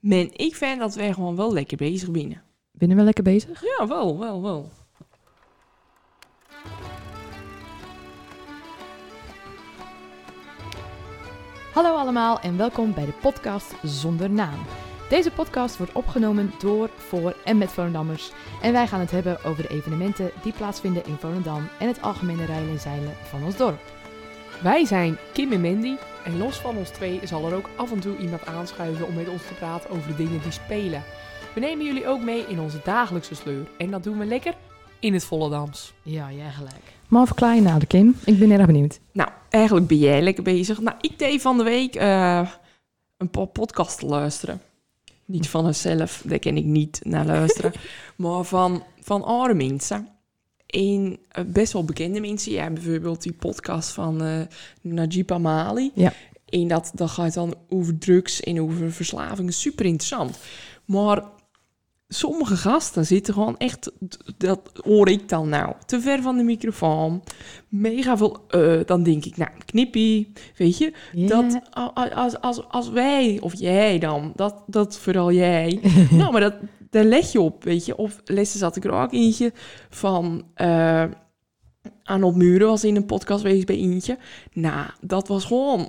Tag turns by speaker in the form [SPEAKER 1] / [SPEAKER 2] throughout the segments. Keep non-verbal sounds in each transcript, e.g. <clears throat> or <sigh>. [SPEAKER 1] Men ik vind dat wij gewoon wel lekker bezig binnen.
[SPEAKER 2] Binnen wel lekker bezig?
[SPEAKER 1] Ja, wel, wel, wel.
[SPEAKER 2] Hallo allemaal en welkom bij de podcast Zonder Naam. Deze podcast wordt opgenomen door, voor en met Volendammers. En wij gaan het hebben over de evenementen die plaatsvinden in Volendam en het algemene rijden en zeilen van ons dorp.
[SPEAKER 3] Wij zijn Kim en Mandy en los van ons twee zal er ook af en toe iemand aanschuiven om met ons te praten over de dingen die spelen. We nemen jullie ook mee in onze dagelijkse sleur en dat doen we lekker in het Volendams.
[SPEAKER 2] Ja, jij gelijk.
[SPEAKER 4] Maar verklaar je nader, nou, Kim. Ik ben erg benieuwd.
[SPEAKER 1] Nou, eigenlijk ben jij lekker bezig. Nou, ik deed van de week eh, een paar podcasts luisteren. Niet van mezelf, daar ken ik niet naar luisteren. maar van, van andere mensen. En eh, best wel bekende mensen. Ja, bijvoorbeeld die podcast van eh, Najib Amali.
[SPEAKER 4] Ja.
[SPEAKER 1] En dat, dat gaat dan over drugs en over verslaving. Super interessant. Maar sommige gasten zitten gewoon echt... Dat hoor ik dan nou. Te ver van de microfoon mega veel eh, dan denk ik, nou, knippie, weet je. Dat a- a- als, als, als wij, of jij dan, dat, dat vooral jij. nou, maar dat, daar leg je op, weet je. Of lessen zat ik er ook eentje van... eh aan op muren was in een podcast geweest bij eentje. Nou, dat was gewoon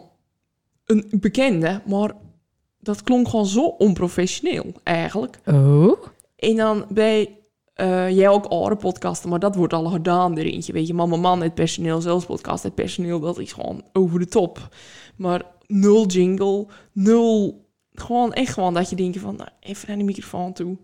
[SPEAKER 1] een bekende, maar dat klonk gewoon zo onprofessioneel eigenlijk.
[SPEAKER 4] Oh.
[SPEAKER 1] En dan bij eh, jij ook andere podcasten, maar dat wordt al gedaan er eentje. Weet je, mama, man, het personeel, zelfs podcast, het personeel, dat is gewoon over de top. Maar nul jingle, nul. Gewoon echt gewoon dat je denkt van, nou, even naar de microfoon toe.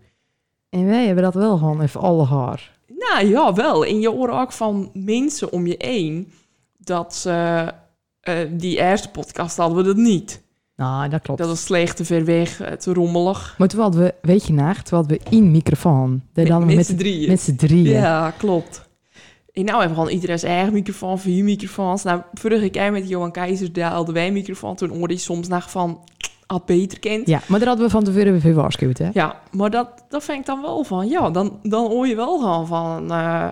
[SPEAKER 4] En wij hebben dat wel gewoon even alle haar.
[SPEAKER 1] Nou ja, wel. En je hoort ook van mensen om je heen dat ze, eh, die eerste podcast hadden we dat niet.
[SPEAKER 4] Nou, dat klopt.
[SPEAKER 1] Dat was slecht, te ver weg, eh, te rommelig.
[SPEAKER 4] Maar terwijl we, weet je naag, terwijl we in microfoon. Dat
[SPEAKER 1] met,
[SPEAKER 4] dan met,
[SPEAKER 1] met z'n drieën.
[SPEAKER 4] met z'n drieën.
[SPEAKER 1] Ja, klopt. En nou hebben we gewoon iedereen zijn eigen microfoon, vier microfoons. Nou, vorige keer met Johan Keizer, daar hadden wij een microfoon. Toen hoorde je soms nog van, had beter kent.
[SPEAKER 4] Ja, maar daar hadden we van tevoren weer waarschuwd, hè?
[SPEAKER 1] Ja, maar dat, dat vind ik dan wel van, ja, dan, dan hoor je wel gewoon van... eh,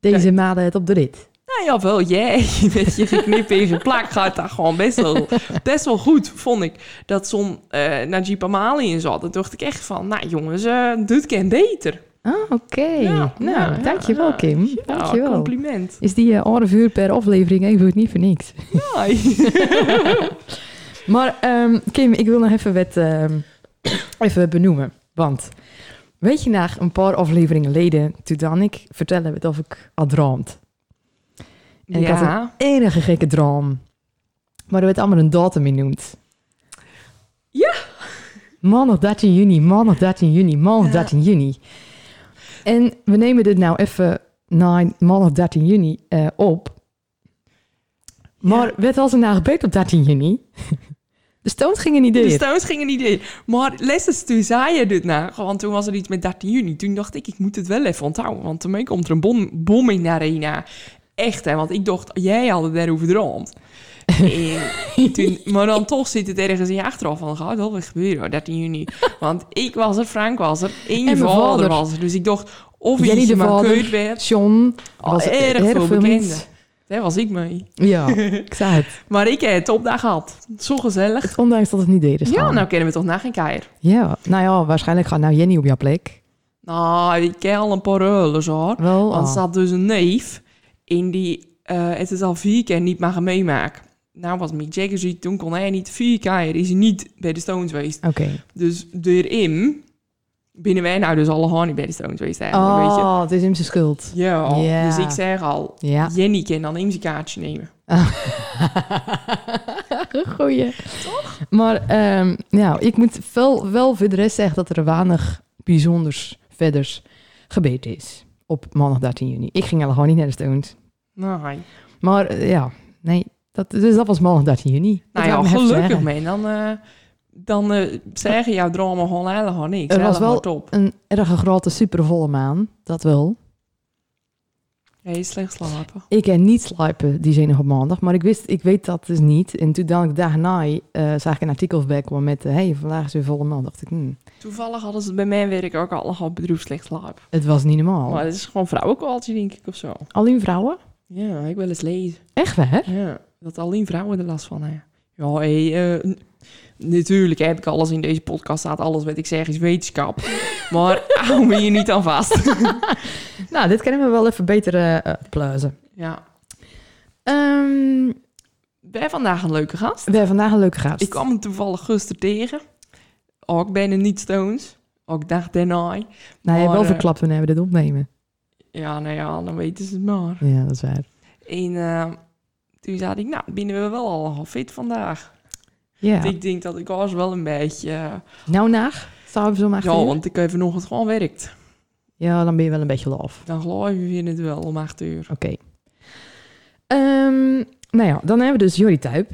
[SPEAKER 4] Deze maanden het op de rit.
[SPEAKER 1] nou ja, wel jij, <laughs> met je geknipt en geplakt gaat dat gewoon best wel, best wel goed, vond ik. Dat zo'n eh Najib Amali in zat, dan dacht ik echt van, nou jongens, eh, dit kan beter.
[SPEAKER 4] Ah, oké.
[SPEAKER 1] Ja,
[SPEAKER 4] nou,
[SPEAKER 1] ja,
[SPEAKER 4] dankjewel,
[SPEAKER 1] ja.
[SPEAKER 4] Kim.
[SPEAKER 1] Ja,
[SPEAKER 4] dankjewel. <laughs>
[SPEAKER 1] compliment.
[SPEAKER 4] Is die eh anderhalf uur per aflevering even goed niet voor niks.
[SPEAKER 1] Nice.
[SPEAKER 4] Maar ehm, Kim, ik wil nog even wat ehm, <coughs> even benoemen. Want weet je, na een paar afleveringen geleden, toen dan ik vertelde het of ik had droomd. En ik had een enige gekke droom. Maar er werd allemaal een datum in noemd.
[SPEAKER 1] Ja.
[SPEAKER 4] Maandag 13 juni, maandag 13 juni, maandag
[SPEAKER 1] Ja.
[SPEAKER 4] 13 juni. En we nemen dit nou even na maandag 13 juni eh, op. Maar wat was er nou gebeurd op 13 juni? <laughs> De stoot ging er niet
[SPEAKER 1] De
[SPEAKER 4] in.
[SPEAKER 1] Stones Dus gingen niet in. Maar lessons, toen zei je dit nou. Want toen was er iets met 13 juni. Toen dacht ik, ik moet het wel even onthouden. Want toen komt er een bom, bom in de arena. Echt, hè. Want ik dacht, jij had het daarover droomd. En
[SPEAKER 4] <laughs>
[SPEAKER 1] toen, maar dan toch zit het ergens in je achterhoofd van... Gaat wel weer gebeuren, hoor, 13 juni. Want ik was er, Frank was er. En je
[SPEAKER 4] mijn
[SPEAKER 1] vader,
[SPEAKER 4] vader.
[SPEAKER 1] was er. Dus ik dacht, of
[SPEAKER 4] Jij niet
[SPEAKER 1] je
[SPEAKER 4] de
[SPEAKER 1] maar
[SPEAKER 4] vader.
[SPEAKER 1] keut werd.
[SPEAKER 4] John
[SPEAKER 1] Al
[SPEAKER 4] was
[SPEAKER 1] erg
[SPEAKER 4] erg
[SPEAKER 1] veel
[SPEAKER 4] veel
[SPEAKER 1] bekende.
[SPEAKER 4] mensen.
[SPEAKER 1] Daar was ik mee. <laughs>
[SPEAKER 4] Ja, ik zei het.
[SPEAKER 1] Maar ik heb het topdag gehad. Zo gezellig.
[SPEAKER 4] Ondanks dat het niet deed. is
[SPEAKER 1] Ja,
[SPEAKER 4] gaan.
[SPEAKER 1] nou kennen we toch na geen keier.
[SPEAKER 4] ja, nou ja, waarschijnlijk gaat nou Jenny op jouw plek.
[SPEAKER 1] Nou, ik ken al een paar huilers hoor.
[SPEAKER 4] Wel,
[SPEAKER 1] Want
[SPEAKER 4] ah.
[SPEAKER 1] er zat dus een neef in die eh, het is al vier keer niet mag meemaken. Nou was Mick Jagger ziek, toen kon hij niet. Vier keer is hij niet bij de Stones geweest.
[SPEAKER 4] oké.
[SPEAKER 1] Dus doorin binnen wij nou dus alle gewoon niet bij de Stones geweest eigenlijk, weet je.
[SPEAKER 4] Oh, het is hem zijn schuld.
[SPEAKER 1] Ja,
[SPEAKER 4] Ja.
[SPEAKER 1] dus ik zeg al,
[SPEAKER 4] Ja.
[SPEAKER 1] Jenny kan dan een kaartje nemen.
[SPEAKER 4] <laughs> Goeie. Toch? Maar ehm, nou, ik moet wel, wel voor de rest zeggen dat er weinig bijzonders verders gebeurd is op maandag 13 juni. Ik ging al gewoon niet naar de Stones.
[SPEAKER 1] Nee.
[SPEAKER 4] Maar eh, ja, nee, dat, dus dat was maandag 13 juni. Dat
[SPEAKER 1] Nou ja,
[SPEAKER 4] laat me even
[SPEAKER 1] gelukkig
[SPEAKER 4] zeggen.
[SPEAKER 1] man. Dan, eh, dan eh, zeggen jouw dromen gewoon helemaal niks.
[SPEAKER 4] Er was
[SPEAKER 1] Helemaal
[SPEAKER 4] wel-
[SPEAKER 1] top.
[SPEAKER 4] Een erg grote, supervolle maan, dat wel.
[SPEAKER 1] Hij is slecht slapen.
[SPEAKER 4] Ik heb niet slapen die zenuw op maandag, maar ik wist, ik weet dat dus niet. En toen dan ik daarna eh, zag ik een artikel bijkomen met, hé, hey, vandaag is weer volle maan. Dacht ik, hmm,
[SPEAKER 1] Toevallig hadden ze bij mijn werk ook allemaal bedroefd slecht slaap.
[SPEAKER 4] het was niet normaal.
[SPEAKER 1] Maar het is gewoon vrouwenkwaltje, denk ik, of zo.
[SPEAKER 4] Alleen vrouwen?
[SPEAKER 1] Ja, ik wil eens lezen.
[SPEAKER 4] Echt waar?
[SPEAKER 1] Ja, dat alleen vrouwen er last van hebben. Ja, hé, eh, natuurlijk heb ik alles in deze podcast staat. Alles wat ik zeg is <laughs> wetenschap. Maar hou me hier niet aan vast.
[SPEAKER 4] Nou, dit kunnen we wel even beter eh, eh, pluizen.
[SPEAKER 1] Ja.
[SPEAKER 4] Ehm,
[SPEAKER 1] We hebben vandaag een leuke gast.
[SPEAKER 4] we hebben vandaag een leuke gast.
[SPEAKER 1] Ik kwam hem toevallig gisteren tegen. Ook bijna niet Stones. Ook dacht daarna.
[SPEAKER 4] Nou, je hebt wel
[SPEAKER 1] Maar, eh,
[SPEAKER 4] verklapt wanneer we dit opnemen.
[SPEAKER 1] Ja, nou ja, dan weten ze het maar.
[SPEAKER 4] Ja, dat is waar.
[SPEAKER 1] En eh, toen zei ik, nou, binnen we wel al fit vandaag.
[SPEAKER 4] Ja.
[SPEAKER 1] Ik denk dat ik als wel een beetje... eh,
[SPEAKER 4] Nou, naag. Zouden we zo maar
[SPEAKER 1] ja, want ik heb vanochtend gewoon werkt.
[SPEAKER 4] ja, dan ben je wel een beetje laf.
[SPEAKER 1] Dan geloven we het wel om acht uur.
[SPEAKER 4] Oké. Ehm, nou ja, dan hebben we dus Jordi Tuip.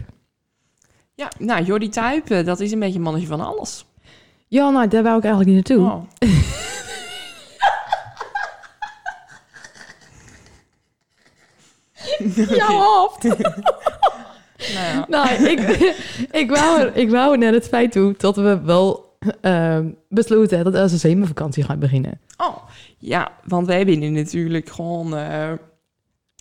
[SPEAKER 1] Ja, nou, Jordi Tuyp, eh, dat is een beetje een mannetje van alles.
[SPEAKER 4] Ja, nou, daar wou ik eigenlijk niet naartoe.
[SPEAKER 1] Oh.
[SPEAKER 4] <laughs> Ja, hoofd!
[SPEAKER 1] Nou ja.
[SPEAKER 4] nou, ik, <laughs> ik, wou er, ik wou er naar het feit toe dat we wel ehm, besloten hadden dat LCC mijn vakantie gaat beginnen.
[SPEAKER 1] Oh, ja, want wij binnen natuurlijk gewoon eh,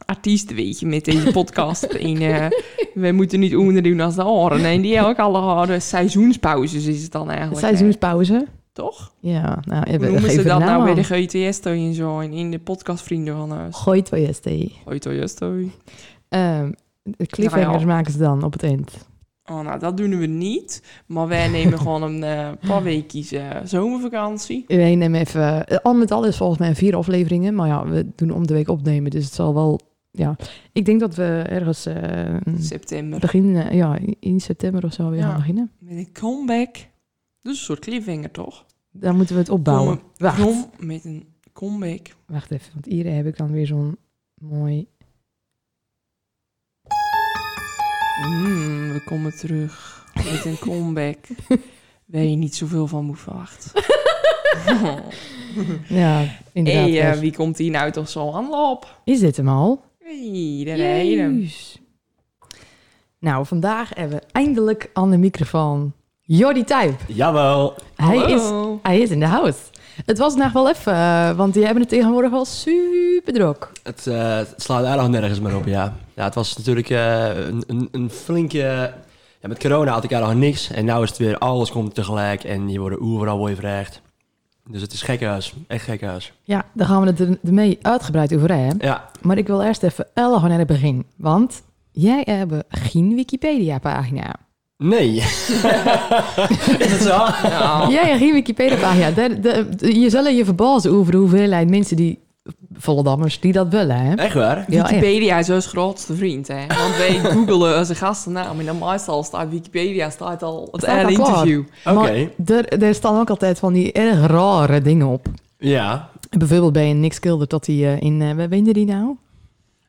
[SPEAKER 1] artiesten, weet je, met deze
[SPEAKER 4] <laughs>
[SPEAKER 1] podcast. en eh, wij moeten niet onderdoen als de oren. En die hebben ook alle harde seizoenspauzes is het dan eigenlijk. hè?
[SPEAKER 4] Seizoenspauze.
[SPEAKER 1] Toch?
[SPEAKER 4] Ja, nou,
[SPEAKER 1] Hoe
[SPEAKER 4] we
[SPEAKER 1] noemen ze
[SPEAKER 4] geven
[SPEAKER 1] dat
[SPEAKER 4] een naam
[SPEAKER 1] nou bij de
[SPEAKER 4] aan.
[SPEAKER 1] GTS en zo en in de podcastvrienden van eh, ons?
[SPEAKER 4] Gooi twee ST.
[SPEAKER 1] Hoi Toyestoy.
[SPEAKER 4] Ehm, de cliffhangers
[SPEAKER 1] Nou ja.
[SPEAKER 4] maken ze dan op het eind.
[SPEAKER 1] Oh, nou, dat doen we niet. Maar wij
[SPEAKER 4] <laughs>
[SPEAKER 1] nemen gewoon een eh, paar weekjes eh, zomervakantie.
[SPEAKER 4] We nemen even... eh, Al met al is volgens mij vier afleveringen. Maar ja, we doen om de week opnemen. Dus het zal wel... Ja, ik denk dat we ergens... eh,
[SPEAKER 1] September.
[SPEAKER 4] Begin, eh, ja, in september of zo weer
[SPEAKER 1] Ja.
[SPEAKER 4] gaan beginnen.
[SPEAKER 1] Met een comeback. Dus een soort cliffhanger, toch?
[SPEAKER 4] Dan moeten we het opbouwen. Wacht,
[SPEAKER 1] Kom met een comeback.
[SPEAKER 4] wacht even, want hier heb ik dan weer zo'n mooi...
[SPEAKER 1] Mm, we komen terug met een comeback
[SPEAKER 4] <laughs>
[SPEAKER 1] waar je niet zoveel van moet verwachten.
[SPEAKER 4] Ja, inderdaad.
[SPEAKER 1] hey, eh,
[SPEAKER 4] Bert.
[SPEAKER 1] wie komt hier nou toch zo aan op?
[SPEAKER 4] Is dit hem al?
[SPEAKER 1] Hey, daar heb je hem.
[SPEAKER 4] Jezus. Nou, vandaag hebben we eindelijk aan de microfoon Jordi Tuyp.
[SPEAKER 5] Jawel.
[SPEAKER 4] Hij is,
[SPEAKER 1] Hallo.
[SPEAKER 4] hij is in de house. Het was nog wel even, eh, want die hebben het tegenwoordig wel super druk.
[SPEAKER 5] Het, eh, het slaat eigenlijk nergens meer op, ja. ja het was natuurlijk eh, een, een, een flinke... Ja, met corona had ik eigenlijk niks. En nu is het weer, alles komt tegelijk. En je wordt overal weer gevraagd. Dus het is gekkenhuis. Echt gekkenhuis.
[SPEAKER 4] Ja, daar gaan we het er- ermee uitgebreid over hebben.
[SPEAKER 5] Ja,
[SPEAKER 4] Maar ik wil eerst even Ella gewoon naar het begin. Want jij hebt geen Wikipedia-pagina. <laughs>
[SPEAKER 5] nee. is dat zo?
[SPEAKER 1] Nou.
[SPEAKER 4] Jij hebt geen Wikipedia-pagina. Daar- de- de- Je zal je verbazen over de hoeveelheid mensen die... Vollendammers die dat willen, hè?
[SPEAKER 5] Echt waar?
[SPEAKER 4] Ja, echt.
[SPEAKER 1] Wikipedia is ons grootste vriend, hè? Want
[SPEAKER 4] <laughs>
[SPEAKER 1] wij googelen onze gastennaam en dan meestal staat Wikipedia staat al het
[SPEAKER 4] Staat al
[SPEAKER 1] hele
[SPEAKER 4] klaar.
[SPEAKER 1] interview.
[SPEAKER 5] Oké.
[SPEAKER 4] Maar er, er staan ook altijd van die erg rare dingen op.
[SPEAKER 5] Ja.
[SPEAKER 4] Bijvoorbeeld bij een Nick Kilder dat hij eh, in... eh waar woonde die nou?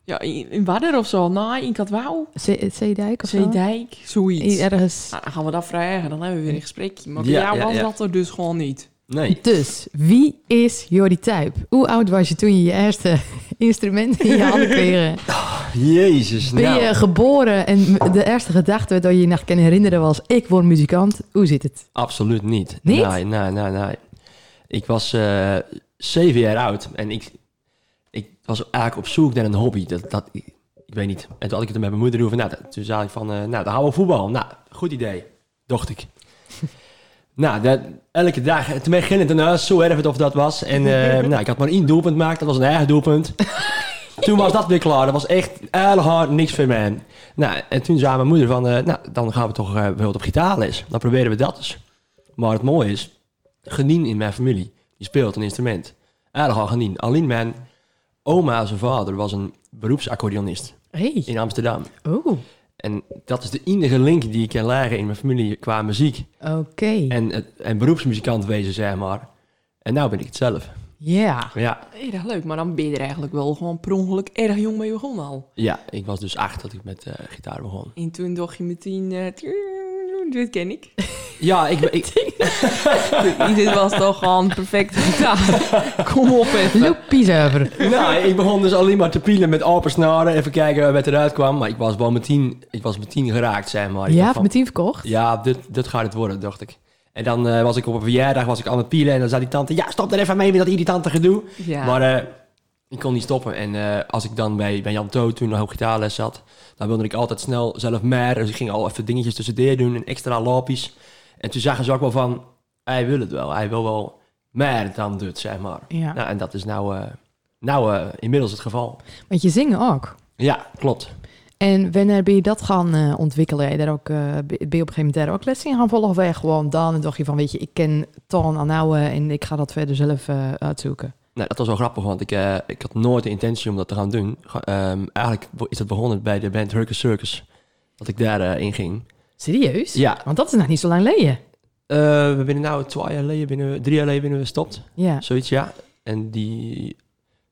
[SPEAKER 1] Ja, in, in Wadder of zo, nee, in Katwouw,
[SPEAKER 4] Zee- Zeedijk of zo?
[SPEAKER 1] Zeedijk, zoiets.
[SPEAKER 4] Ergens.
[SPEAKER 1] Nou, dan gaan we dat vragen, dan hebben we weer een gesprekje. Maar bij
[SPEAKER 5] Ja,
[SPEAKER 1] jou
[SPEAKER 5] ja,
[SPEAKER 1] was
[SPEAKER 5] ja.
[SPEAKER 1] dat er dus gewoon niet.
[SPEAKER 5] Nee.
[SPEAKER 4] Dus, wie is Jordi Tuyp? Hoe oud was je toen je je eerste <laughs> instrument in je handen kreeg? <laughs>
[SPEAKER 5] Jezus.
[SPEAKER 4] Ben
[SPEAKER 5] Nou.
[SPEAKER 4] je geboren en de eerste gedachte dat je je nog kan herinneren was... ik word muzikant, hoe zit het?
[SPEAKER 5] Absoluut niet.
[SPEAKER 4] Niet?
[SPEAKER 5] Nee, nee, nee, nee. Ik was eh, zeven jaar oud en ik, ik was eigenlijk op zoek naar een hobby. Dat, dat, ik, ik weet niet. En toen had ik het met mijn moeder over. Nou, dat- toen zei ik van, eh, nou, dan houden we voetbal. Nou, goed idee, dacht ik. nou, dat, elke dag. eh, Toen begon het daarna, nou, zo erg het of dat was. En eh, nou, ik had maar één doelpunt gemaakt, dat was een eigen doelpunt. toen was dat weer klaar. Dat was echt hard niks voor mij. Nou, en toen zei mijn moeder van, eh, nou, dan gaan we toch eh, bijvoorbeeld op gitaarles. Dan proberen we dat eens. Maar het mooie is, Genien in mijn familie, die speelt een instrument. Eigenlijk al Genien. Alleen mijn oma, zijn vader, was een beroepsaccordeonist
[SPEAKER 4] Hey.
[SPEAKER 5] in Amsterdam.
[SPEAKER 4] Oh,
[SPEAKER 5] En dat is de enige link die ik kan leggen in mijn familie qua muziek.
[SPEAKER 4] oké.
[SPEAKER 5] En, het- en beroepsmuzikant wezen, zeg maar. En nou ben ik het zelf.
[SPEAKER 4] Ja.
[SPEAKER 5] Ja,
[SPEAKER 1] Heel erg leuk, maar dan ben je er eigenlijk wel gewoon per ongeluk erg jong mee begonnen al.
[SPEAKER 5] ja ik was dus acht dat ik met eh, gitaar begon.
[SPEAKER 1] En toen dacht je meteen, eh, dit ken
[SPEAKER 4] <laughs>
[SPEAKER 1] ik.
[SPEAKER 5] Ja, ik, ik,
[SPEAKER 1] dit was toch gewoon perfect <laughs> gitaar. Kom op even.
[SPEAKER 4] Loopiezuiver.
[SPEAKER 5] nou, ik begon dus alleen maar te pielen met apensnaren. Even kijken wat eruit kwam. Maar ik was wel meteen, ik was meteen geraakt, zeg maar.
[SPEAKER 4] Ja,
[SPEAKER 5] Ik dacht
[SPEAKER 4] hebt
[SPEAKER 5] van-
[SPEAKER 4] meteen verkocht?
[SPEAKER 5] Ja, dit, dit gaat het worden, dacht ik. En dan eh, was ik op een verjaardag was ik aan het pielen en dan zei die tante... Ja, stop er even mee met dat irritante gedoe.
[SPEAKER 1] Ja.
[SPEAKER 5] Maar eh, Ik kon niet stoppen. En eh, als ik dan bij, bij Jan Toot toen nog op gitaarles zat, dan wilde ik altijd snel zelf meer. Dus ik ging al even dingetjes tussendoor doen en extra lopies. En toen zagen ze ook wel van, hij wil het wel. Hij wil wel meer dan dit, zeg maar.
[SPEAKER 4] Ja.
[SPEAKER 5] Nou, en dat is nou, eh, nou eh, inmiddels het geval.
[SPEAKER 4] Want je zingt ook.
[SPEAKER 5] Ja, klopt.
[SPEAKER 4] En wanneer ben je dat gaan eh, ontwikkelen? Heb je daar ook, eh, ben je op een gegeven moment daar ook les in gaan volgen? Of ben je gewoon dan en dacht je van, weet je, ik ken Tan aan nou en ik ga dat verder zelf eh, uitzoeken?
[SPEAKER 5] Nou, dat was wel grappig, want ik, eh, ik had nooit de intentie om dat te gaan doen. Ga- ehm, eigenlijk bo- is dat begonnen bij de band Hurricane Circus, dat ik daar eh, in ging.
[SPEAKER 4] Serieus?
[SPEAKER 5] Ja,
[SPEAKER 4] Want dat is nog niet zo lang geleden.
[SPEAKER 5] eh, we binnen nou twee jaar geleden, binnen we, drie jaar geleden binnen we gestopt.
[SPEAKER 4] Ja.
[SPEAKER 5] Zoiets, ja. En die...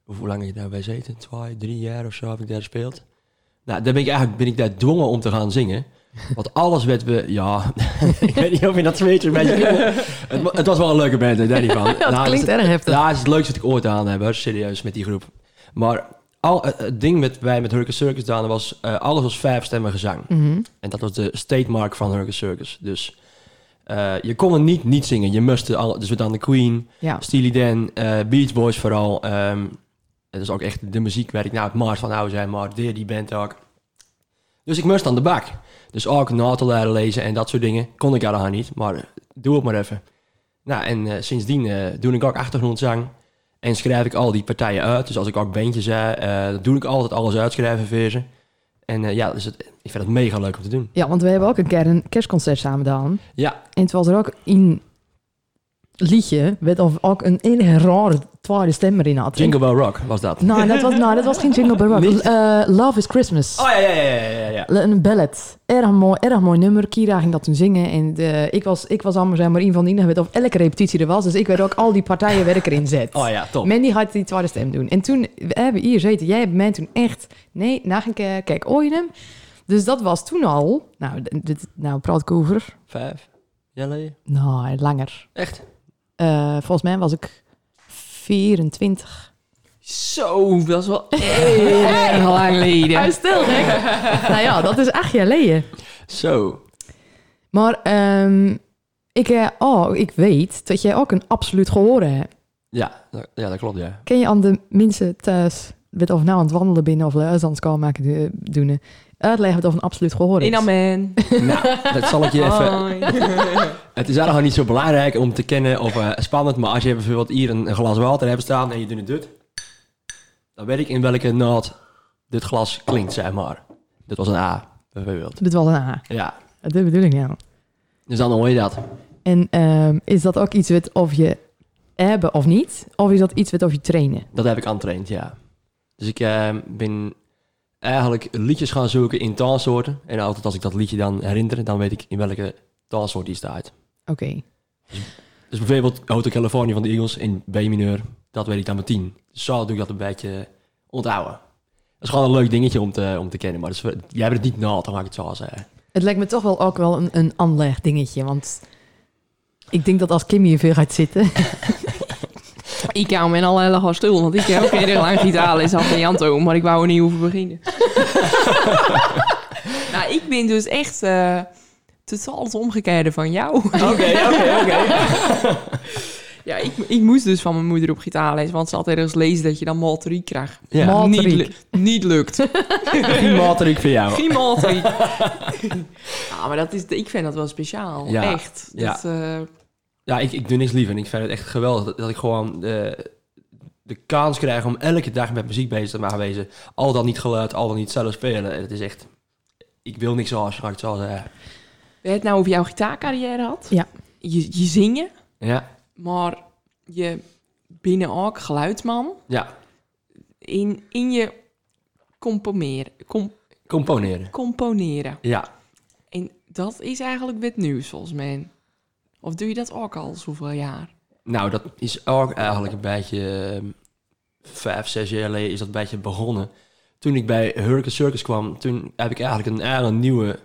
[SPEAKER 5] Hoe lang heb je daarbij zeten? Twee, drie jaar of zo heb ik daar gespeeld. Nou, daar ben ik eigenlijk ben ik daar dwongen om te gaan zingen. Want alles werd we... Ja, <laughs> ik weet niet of je dat weet. maar Het, wa- het was wel een leuke band, hè, daar niet van.
[SPEAKER 4] <laughs> Dat
[SPEAKER 5] Nou,
[SPEAKER 4] klinkt erg heftig.
[SPEAKER 5] ja, het is het leukste dat ik ooit aan heb, hoor. serieus, met die groep. Maar al, het- het ding met, wij met Hurricane Circus dan was, eh, alles was vijf stemmen gezang.
[SPEAKER 4] Mhm.
[SPEAKER 5] En dat was de statemark van Hurricane Circus. Dus eh, je kon er niet niet zingen. Je moest al, dus we dan de Queen,
[SPEAKER 4] Ja.
[SPEAKER 5] Steely Dan, eh, Beach Boys vooral. ehm dat is ook echt de muziek waar ik nou het Mars van hou zijn, maar deer die band ook. Dus ik moest aan de bak. Dus ook Natal leren lezen en dat soort dingen. Kon ik allemaal niet, maar eh, doe het maar even. Nou, en eh, sindsdien eh, doe ik ook achtergrondzang. En schrijf ik al die partijen uit. Dus als ik ook bandjes zei, eh, dan doe ik altijd alles uitschrijven voor ze. En eh, ja, dus het, ik vind het mega leuk om te doen.
[SPEAKER 4] ja, want we hebben ook een keer een kerstconcert samen gedaan.
[SPEAKER 5] Ja,
[SPEAKER 4] En het was er ook in liedje, werd of ook een hele rare tweede stem erin had.
[SPEAKER 5] Jingle Bell Rock was dat.
[SPEAKER 4] Nou, dat was, nou, dat was geen Jingle Bell Rock.
[SPEAKER 5] Niet?
[SPEAKER 4] Eh, Love is Christmas.
[SPEAKER 5] Oh ja, ja, ja, ja, ja, ja.
[SPEAKER 4] Een ballet. Erg mooi, erg mooi nummer. Kira ging dat toen zingen. En de, ik was, ik was allemaal zeg maar een van die werd of elke repetitie er was. Dus ik werd ook al die partijen werd ik erin zet.
[SPEAKER 5] Oh ja, top.
[SPEAKER 4] Mandy had die tweede stem doen. En toen we hebben hier zitten. Jij hebt mij toen echt... Nee, na een keer kijk ooit hem. Dus dat was toen al... Nou, d- dit, nou praat ik over.
[SPEAKER 5] Vijf. Ja, nee.
[SPEAKER 4] Nou, langer.
[SPEAKER 5] Echt?
[SPEAKER 4] Eh, volgens mij was ik 24.
[SPEAKER 1] Zo, dat is wel erg lang
[SPEAKER 4] Hou
[SPEAKER 1] geleden.
[SPEAKER 4] stil, hè? nou ja, dat is acht jaar geleden.
[SPEAKER 5] Zo.
[SPEAKER 4] Maar ehm, ik, eh, oh, ik weet dat jij ook een absoluut gehoren hebt.
[SPEAKER 5] Ja, dat- ja, dat klopt, ja.
[SPEAKER 4] Ken je aan de mensen thuis, weet of nou aan het wandelen binnen of luisteren kan maken eh, doen, eh, uitleggen wat of een absoluut gehoor is?
[SPEAKER 1] In amen.
[SPEAKER 5] nou, dat zal ik je
[SPEAKER 1] Oh.
[SPEAKER 5] even... Het is eigenlijk niet zo belangrijk om te kennen of eh, spannend, maar als je bijvoorbeeld hier een, een glas water hebt staan en je doet het dit, dan weet ik in welke naald dit glas klinkt, zeg maar. Dit was een A, bijvoorbeeld.
[SPEAKER 4] Dit was een A.
[SPEAKER 5] Ja,
[SPEAKER 4] Dat is de bedoeling, ja.
[SPEAKER 5] dus dan hoor je dat.
[SPEAKER 4] En ehm, is dat ook iets wat of je hebben of niet? Of is dat iets wat of je trainen?
[SPEAKER 5] Dat heb ik aantraind, ja. Dus ik eh, ben eigenlijk liedjes gaan zoeken in taalsoorten. En altijd als ik dat liedje dan herinner, dan weet ik in welke taalsoort die staat.
[SPEAKER 4] Oké.
[SPEAKER 5] Dus bijvoorbeeld Hotel California van de Eagles in B-mineur, dat weet ik dan met 10. Dus zo doe ik dat een beetje onthouden. Dat is gewoon een leuk dingetje om te, om te kennen, maar dat is- jij bent het niet naald, dan mag ik het zo zeggen.
[SPEAKER 4] Het lijkt me toch wel ook wel een, een aanleg dingetje, want ik denk dat als Kim hier veel gaat zitten,
[SPEAKER 1] <laughs> Ik hou me al heel erg stil, want ik heb ook heel lang gitaarles gehad bij Janto, maar ik wou er niet hoeven beginnen. <laughs> nou, ik ben dus echt eh totaal het omgekeerde van jou.
[SPEAKER 5] Oké, oké, oké.
[SPEAKER 1] ja, ik, ik moest dus van mijn moeder op gitaarles, want ze had ergens lezen dat je dan malteriek krijgt.
[SPEAKER 5] Ja,
[SPEAKER 4] Malteriek.
[SPEAKER 1] Niet, lu- niet <laughs> lukt.
[SPEAKER 5] die mater ik voor jou.
[SPEAKER 1] Geen <laughs> malteriek. ja, maar dat is, ik vind dat wel speciaal.
[SPEAKER 5] Ja,
[SPEAKER 1] Echt.
[SPEAKER 5] ja.
[SPEAKER 1] Dat, eh,
[SPEAKER 5] Ja, ik, ik doe niks liever en ik vind het echt geweldig dat, dat ik gewoon de, de kans krijg om elke dag met muziek bezig te mogen wezen. Al dan niet geluid, al dan niet zelf spelen. En Het is echt, ik wil niks anders, ga ik het zo zeggen.
[SPEAKER 1] we het nou over jouw gitaarcarrière had.
[SPEAKER 4] Ja.
[SPEAKER 1] Je, je zingen,
[SPEAKER 5] Ja,
[SPEAKER 1] maar je binnen ook geluidsman.
[SPEAKER 5] ja,
[SPEAKER 1] in, in je componeren, com-
[SPEAKER 5] componeren.
[SPEAKER 1] componeren.
[SPEAKER 5] Ja,
[SPEAKER 1] En dat is eigenlijk wit nieuws volgens mij. Of doe je dat ook al zoveel jaar?
[SPEAKER 5] Nou, dat is ook eigenlijk een beetje... ehm, Vijf, zes jaar geleden is dat een beetje begonnen. Toen ik bij Hurricane Circus kwam, toen heb ik eigenlijk een hele nieuwe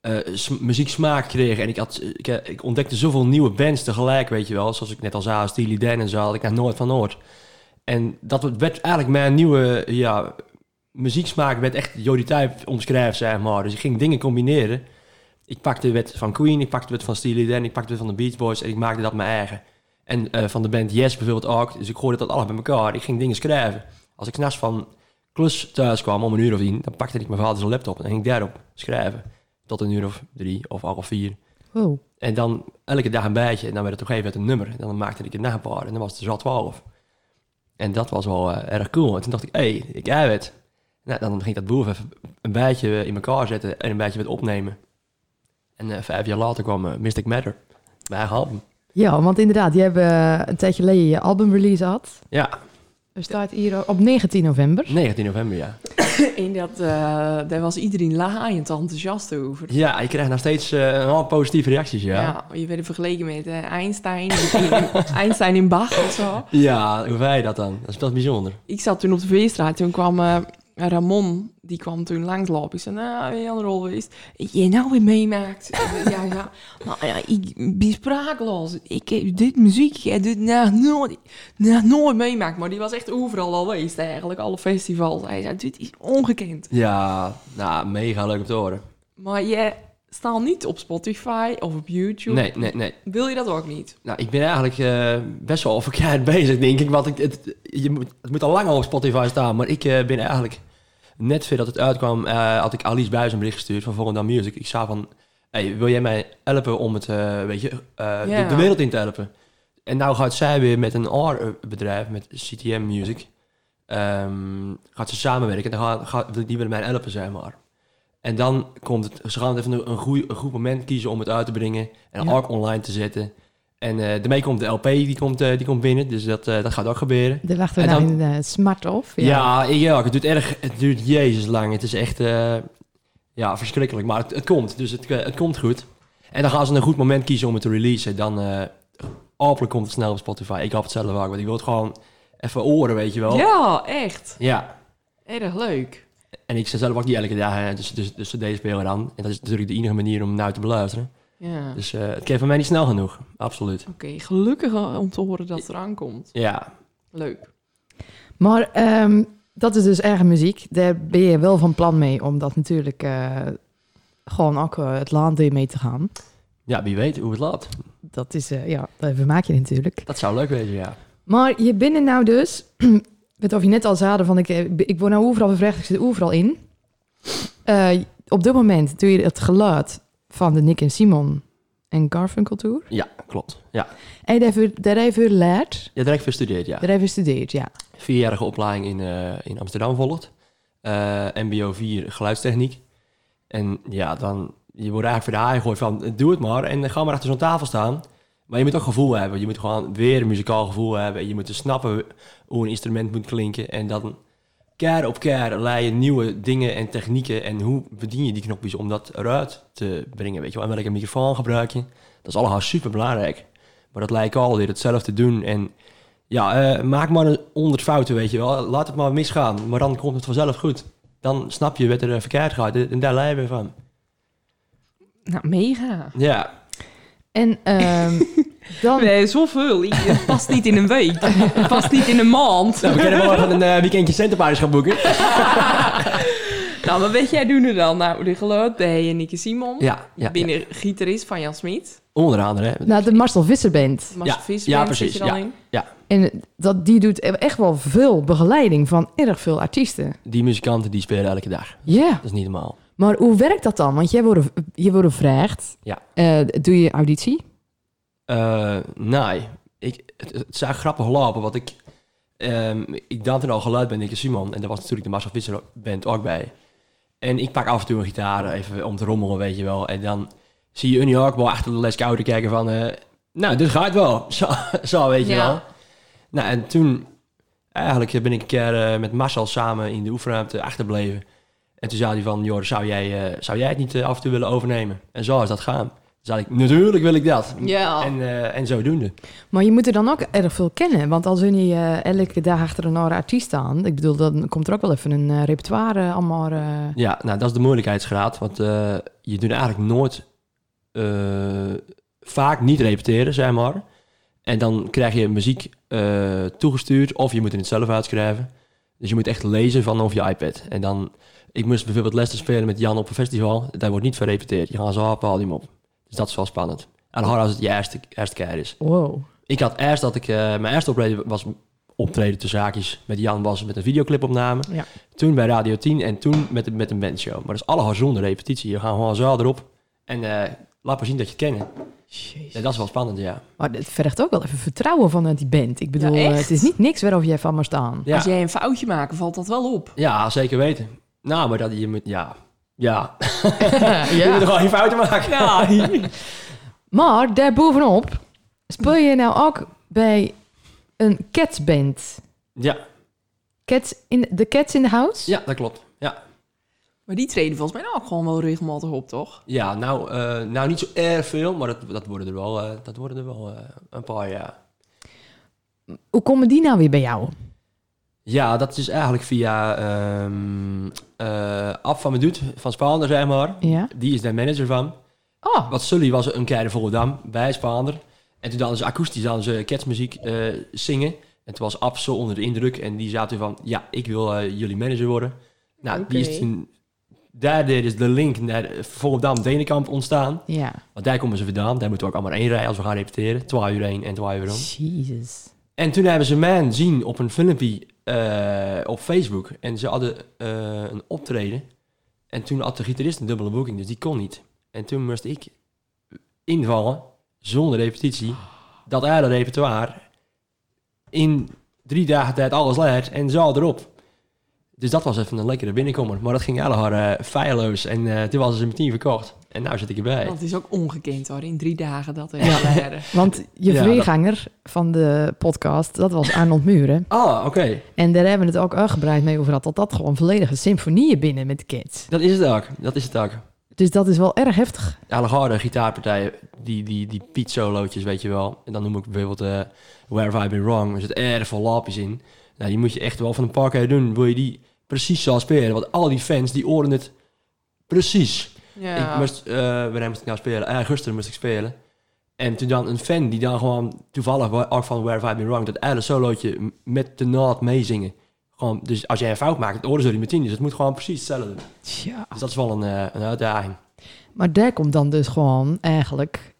[SPEAKER 5] eh, s- muzieksmaak gekregen. En ik, had, ik, eh, ik ontdekte zoveel nieuwe bands tegelijk, weet je wel. Zoals ik net al zei, Steely Dan en zo, had ik nog nooit van hoort. En dat werd eigenlijk mijn nieuwe ja, muzieksmaak, werd echt Jody Type omschrijven, zeg maar. Dus ik ging dingen combineren. Ik pakte wet van Queen, ik pakte wet van Steely Dan, ik pakte wet van de Beach Boys en ik maakte dat mijn eigen. En eh, van de band Yes bijvoorbeeld ook. Dus ik gooide dat alles bij elkaar. Ik ging dingen schrijven. Als ik s'nachts van klus thuis kwam om een uur of tien, dan pakte ik mijn vader zijn laptop en ging ik daarop schrijven. Tot een uur of drie of half vier.
[SPEAKER 4] Wow.
[SPEAKER 5] En dan elke dag een bijtje. En dan werd het op een gegeven moment een nummer. En dan maakte ik het na een paar. En dan was het dus al twaalf. En dat was wel eh, erg cool. En toen dacht ik, hé, hey, ik heb het. Nou, dan ging ik dat boer even een bijtje in elkaar zetten en een bijtje met opnemen. En eh, vijf jaar later kwam eh, Mystic Matter. Mijn eigen album.
[SPEAKER 4] Ja, want inderdaad, je hebt eh, een tijdje geleden je albumrelease gehad.
[SPEAKER 5] Ja,
[SPEAKER 4] Er staat hier op 19 november.
[SPEAKER 5] 19 november, ja.
[SPEAKER 1] En dat, eh, daar was iedereen laaiend enthousiast over.
[SPEAKER 5] Ja, je krijgt nog steeds eh, een hoop positieve reacties, ja. Ja,
[SPEAKER 1] je werd vergeleken met eh, Einstein, in- Einstein in Bach of zo.
[SPEAKER 5] hoe wij dat dan? Dat is wel bijzonder.
[SPEAKER 1] Ik zat toen op de feestraat, toen kwam eh, Ramon, die kwam toen langslopen. Ik zei, nou, ben je aan de rol geweest? Je nou weer meemaakt. ja, ja. Nou ja, ik ben sprakeloos. Ik heb dit muziek, ik heb dit nog nooit, nog nooit meemaakt. Maar die was echt overal al geweest eigenlijk, alle festivals. Hij zei, dit is ongekend.
[SPEAKER 5] Ja, nou, mega leuk om te horen.
[SPEAKER 1] Maar jij staat niet op Spotify of op YouTube.
[SPEAKER 5] Nee, nee, nee.
[SPEAKER 1] Wil je dat ook niet?
[SPEAKER 5] Nou, ik ben eigenlijk eh, best wel verkeerd <laughs> bezig, denk ik. Want ik, het, je moet, het moet al lang al op Spotify staan. Maar ik eh, ben eigenlijk... Net voordat het uitkwam, eh, had ik Alice Buijs een bericht gestuurd van Volendam Music. Ik zei van, hey, wil jij mij helpen om het, eh, weet je, eh, de-
[SPEAKER 1] Ja.
[SPEAKER 5] de, wereld in te helpen? En nou gaat zij weer met een R-bedrijf, met CTM Music, ehm, gaat ze samenwerken. En dan gaat, gaat, die willen mij helpen, zeg maar. En dan komt het, ze gaan even een, een, goeie- een goed moment kiezen om het uit te brengen. En
[SPEAKER 1] Ja.
[SPEAKER 5] ARC online te zetten. En eh, daarmee komt de LP, die komt, eh, die komt binnen. Dus dat, eh, dat gaat ook gebeuren.
[SPEAKER 4] Daar wachten we
[SPEAKER 5] En
[SPEAKER 4] nou
[SPEAKER 5] dan-
[SPEAKER 4] in de smart of.
[SPEAKER 5] Ja, ik- ja, het duurt erg, het duurt jezus lang. Het is echt, eh, ja, verschrikkelijk. Maar het, het komt, dus het, eh, het komt goed. En dan gaan ze een goed moment kiezen om het te releasen. Dan, eh hopelijk komt het snel op Spotify. Ik heb het zelf ook, want ik wil het gewoon even horen, weet je wel.
[SPEAKER 1] Ja, echt.
[SPEAKER 5] Ja.
[SPEAKER 1] Erg leuk.
[SPEAKER 5] En ik zet zelf ook niet elke dag, eh, dus, dus, dus deze spelen dan. En dat is natuurlijk de enige manier om nou te beluisteren.
[SPEAKER 1] Ja.
[SPEAKER 5] Dus eh, het kan voor mij niet snel genoeg, absoluut.
[SPEAKER 1] Oké, gelukkig eh, om te horen dat het eraan komt.
[SPEAKER 5] Ja,
[SPEAKER 1] Leuk.
[SPEAKER 4] Maar ehm, dat is dus eigen muziek. Daar ben je wel van plan mee om dat natuurlijk eh, gewoon ook eh, het land in mee te gaan.
[SPEAKER 5] ja wie weet hoe het loopt.
[SPEAKER 4] Dat is, eh, ja, dat vermaak je natuurlijk.
[SPEAKER 5] Dat zou leuk wezen, ja.
[SPEAKER 4] Maar je bent er nou dus, <clears throat> weet of je net al zeiden van ik, eh, ik word nou overal bevredigd, ik zit overal in. Eh, op dit moment doe je het geluid van de Nick en Simon en Garfunkel Tour.
[SPEAKER 5] Ja, klopt. Ja,
[SPEAKER 4] En daar heb je- daar heb je leert,
[SPEAKER 5] ja direct verstudeerd, ja.
[SPEAKER 4] daar heb je gestudeerd, ja.
[SPEAKER 5] vierjarige opleiding in, eh, in Amsterdam volgt. Eh, MBO 4 geluidstechniek. En ja, dan je wordt eigenlijk voor de haai gegooid van eh, doe het maar en eh, ga maar achter zo'n tafel staan. Maar je moet ook gevoel hebben. Je moet gewoon weer een muzikaal gevoel hebben. Je moet dus snappen hoe een instrument moet klinken. En dan keer op keer leid je nieuwe dingen en technieken. En hoe bedien je die knopjes om dat eruit te brengen? Weet je wel? En welke microfoon gebruik je? Dat is allemaal super belangrijk. Maar dat lijkt al weer hetzelfde doen. En ja, eh, maak maar een honderd fouten, weet je wel. Laat het maar misgaan, maar dan komt het vanzelf goed. Dan snap je wat er eh, verkeerd gaat en daar lijden we van.
[SPEAKER 1] Nou, mega.
[SPEAKER 5] Ja,
[SPEAKER 4] En ehm,
[SPEAKER 1] <laughs>
[SPEAKER 4] dan...
[SPEAKER 1] Nee, zoveel. Ik- Het past niet in een week. Het past niet in een maand.
[SPEAKER 5] nou, we kunnen wel even een eh, weekendje centerpaarders gaan boeken.
[SPEAKER 1] Nou, wat weet jij doen er dan? Nou, de geluid bij Nicky Simon.
[SPEAKER 5] Ja, ja,
[SPEAKER 1] Ik ben een gitarist van Jan Smit.
[SPEAKER 5] onder andere. hè.
[SPEAKER 4] Nou, de Marcel Visser Band.
[SPEAKER 1] Marcel
[SPEAKER 5] Ja,
[SPEAKER 1] Visser
[SPEAKER 5] ja,
[SPEAKER 1] bent, zit
[SPEAKER 5] precies,
[SPEAKER 1] je dan in.
[SPEAKER 4] En dat, die doet e-, echt wel veel begeleiding van erg veel artiesten.
[SPEAKER 5] Die muzikanten die spelen elke dag.
[SPEAKER 4] Ja.
[SPEAKER 5] Dat is niet normaal.
[SPEAKER 4] Maar hoe werkt dat dan? Want jij wordt, je wordt gevraagd.
[SPEAKER 5] Ja.
[SPEAKER 4] Eh, doe je auditie?
[SPEAKER 5] Eh, nee, ik, het, het zou grappig lopen, want ik, ehm ik danste al geluid bij Nicky Simon. En daar was natuurlijk de Marcel Visser Band ook bij. En ik pak af en toe een gitaar even om te rommelen, weet je wel. En dan zie je Unie ook wel achter de les kouder kijken van... eh, nou, dit gaat wel. <laughs> Zo, zo weet je
[SPEAKER 1] Ja.
[SPEAKER 5] wel. Nou, en toen... Eigenlijk ben ik een keer eh, met Marcel samen in de oefenruimte achterbleven. En toen zei hij van... Joris, zou jij, eh, zou jij het niet eh, af en toe willen overnemen? En zo is dat gaan. Toen zei ik, natuurlijk wil ik dat.
[SPEAKER 1] Ja.
[SPEAKER 5] En, eh, en zodoende.
[SPEAKER 4] Maar je moet er dan ook erg veel kennen. Want als je eh elke dag achter een andere artiest aan... Ik bedoel, dan komt er ook wel even een eh, repertoire eh, allemaal... eh,
[SPEAKER 5] Ja, nou, dat is de moeilijkheidsgraad. Want eh, je doet eigenlijk nooit... eh, vaak niet repeteren, zeg maar. En dan krijg je muziek eh, toegestuurd... of je moet het zelf uitschrijven. Dus je moet echt lezen vanaf je iPad. En dan... Ik moest bijvoorbeeld lessen spelen met Jan op een festival. Daar wordt niet verrepeteerd. Je gaat zo op, haal hem op. Dus dat is wel spannend. En hard als het je eerste, eerste keer is.
[SPEAKER 4] Wow.
[SPEAKER 5] Ik had eerst dat ik... eh, mijn eerste optreden was optreden te zaakjes met Jan was met een videoclipopname.
[SPEAKER 4] Ja.
[SPEAKER 5] Toen bij Radio 10 en toen met, de- met een bandshow. Maar dat is allemaal zonder repetitie. Je gaat gewoon zaal erop en eh laat maar zien dat je het kennen. Ja, dat is wel spannend, ja.
[SPEAKER 4] Maar het vergt ook wel even vertrouwen vanuit die band. Ik bedoel,
[SPEAKER 1] Ja,
[SPEAKER 4] eh,
[SPEAKER 1] echt?
[SPEAKER 4] het is niet niks waarop jij van mag staan.
[SPEAKER 5] Ja,
[SPEAKER 1] Als jij een foutje maakt, valt dat wel op.
[SPEAKER 5] ja zeker weten. Nou, maar dat je moet,
[SPEAKER 4] <laughs>
[SPEAKER 5] ja. Ja, je moet
[SPEAKER 4] Ja.
[SPEAKER 5] er gewoon geen fouten maken. <laughs>
[SPEAKER 1] Ja,
[SPEAKER 4] Maar daarbovenop speel je nou ook bij een catsband.
[SPEAKER 5] Ja,
[SPEAKER 4] Cats in, de Cats in the House?
[SPEAKER 5] ja dat klopt. Ja.
[SPEAKER 1] maar die treden volgens mij nou ook gewoon wel regelmatig op, toch?
[SPEAKER 5] Ja, nou, eh, nou niet zo erg veel, maar dat, dat worden er wel, eh, dat worden er wel eh, een paar, ja.
[SPEAKER 4] Hoe komen die nou weer bij jou?
[SPEAKER 5] Ja, dat is dus eigenlijk via ehm eh Ab van Meduut van Spaander, zeg maar.
[SPEAKER 4] Ja.
[SPEAKER 5] Die is daar manager van.
[SPEAKER 4] Oh,
[SPEAKER 5] Wat Sully was een keer in Volendam bij Spaander. En toen hadden ze akoestisch hadden ze kerstmuziek eh, zingen. En toen was Ab zo onder de indruk en die zaten van... Ja, ik wil eh, jullie manager worden. Nou, die is
[SPEAKER 1] Oké.
[SPEAKER 5] toen... Daar is de link naar eh, Volendam-Denenkamp ontstaan.
[SPEAKER 4] ja.
[SPEAKER 5] Want daar komen ze vandaan. Daar moeten we ook allemaal één rij als we gaan repeteren. 12 uur één en 12 uur om.
[SPEAKER 4] Jezus.
[SPEAKER 5] En toen hebben ze mij zien op een filmpje eh, op Facebook. En ze hadden eh, een optreden. En toen had de gitarist een dubbele boeking, dus die kon niet. En toen moest ik invallen, zonder repetitie, dat hele repertoire. In drie dagen tijd alles leert en zaal erop. Dus dat was even een lekkere binnenkomer. Maar dat ging allemaal eh feilloos. En eh, toen was ze meteen verkocht. En nu zit ik erbij.
[SPEAKER 1] Want het is ook ongekend hoor, in drie dagen dat even
[SPEAKER 5] <laughs>
[SPEAKER 1] leren.
[SPEAKER 4] Want je
[SPEAKER 5] Ja, dat-
[SPEAKER 4] voorganger van de podcast, dat was Arnold Muren.
[SPEAKER 5] Ah, oké.
[SPEAKER 4] En daar hebben we het ook uitgebreid mee over gehad. Dat dat gewoon volledige symfonieën binnen met de kids.
[SPEAKER 5] Dat is het ook. Dat is het ook.
[SPEAKER 4] Dus dat is wel erg heftig.
[SPEAKER 5] allegaarde gitaarpartijen, die, die, die piet-solootjes, weet je wel. En dan noem ik bijvoorbeeld eh Where Have I Been Wrong. Er zit erg veel lapjes in. Nou, die moet je echt wel van een paar keer doen. Wil je die precies zoals spelen? Want al die fans, die oren het precies.
[SPEAKER 1] Ja.
[SPEAKER 5] Ik moest, eh wanneer moest ik nou spelen? Eh, gisteren moest ik spelen. En toen dan een fan die dan gewoon toevallig wa- ook van Where Have I Been Wrong, dat hele solootje m- met de naad meezingen. Gewoon, dus als jij een fout maakt, het oren ze die meteen. Dus het moet gewoon precies hetzelfde.
[SPEAKER 4] Tja.
[SPEAKER 5] Dus dat is wel een, eh, een uitdaging.
[SPEAKER 4] Maar daar komt dan dus gewoon eigenlijk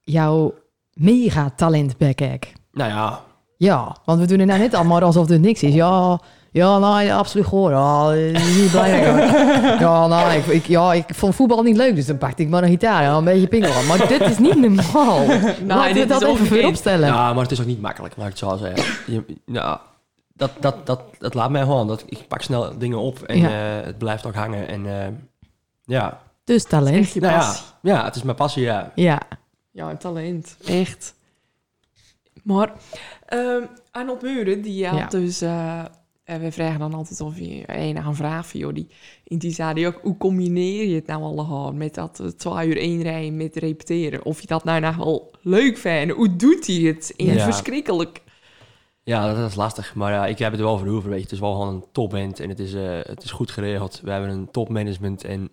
[SPEAKER 4] jouw mega talent bij kijken.
[SPEAKER 5] Nou ja,
[SPEAKER 4] Ja, want we doen het nou net allemaal alsof er niks is. Ja, ja, nee, absoluut hoor. Ja, eh, niet belangrijk. Ja, nee, ik, ik- ja, ik vond voetbal niet leuk, dus dan pakte ik maar een gitaar en een beetje pingelen. Maar dit is niet normaal.
[SPEAKER 1] dit
[SPEAKER 4] Laten we
[SPEAKER 1] is
[SPEAKER 4] dat even
[SPEAKER 1] ongekend.
[SPEAKER 4] vooropstellen.
[SPEAKER 5] Ja, maar het is ook niet makkelijk, laat ik het zo zeggen. Je, nou, dat, dat, dat, dat laat mij gewoon. Dat, ik pak snel dingen op en eh, het blijft ook hangen. En eh, ja.
[SPEAKER 4] Dus talent.
[SPEAKER 1] Echt je
[SPEAKER 5] Nou ja,
[SPEAKER 1] passie.
[SPEAKER 5] ja, het is mijn passie, ja.
[SPEAKER 4] Ja,
[SPEAKER 1] Ja, talent. Echt. Maar ehm, Arnold Muren, die had
[SPEAKER 4] Ja.
[SPEAKER 1] dus... eh, en we vragen dan altijd of je een aan vraagt van... Joh, die, en die zei die ook, hoe combineer je het nou allemaal met dat eh, 12 uur één rijden met repeteren? Of je dat nou nou wel leuk vindt? Hoe doet hij het? En
[SPEAKER 5] Ja.
[SPEAKER 1] verschrikkelijk.
[SPEAKER 5] Ja, dat, dat is lastig. Maar ja, ik heb het er wel voor over, weet je. Het is wel gewoon een topband en het is, eh, het is goed geregeld. We hebben een topmanagement en...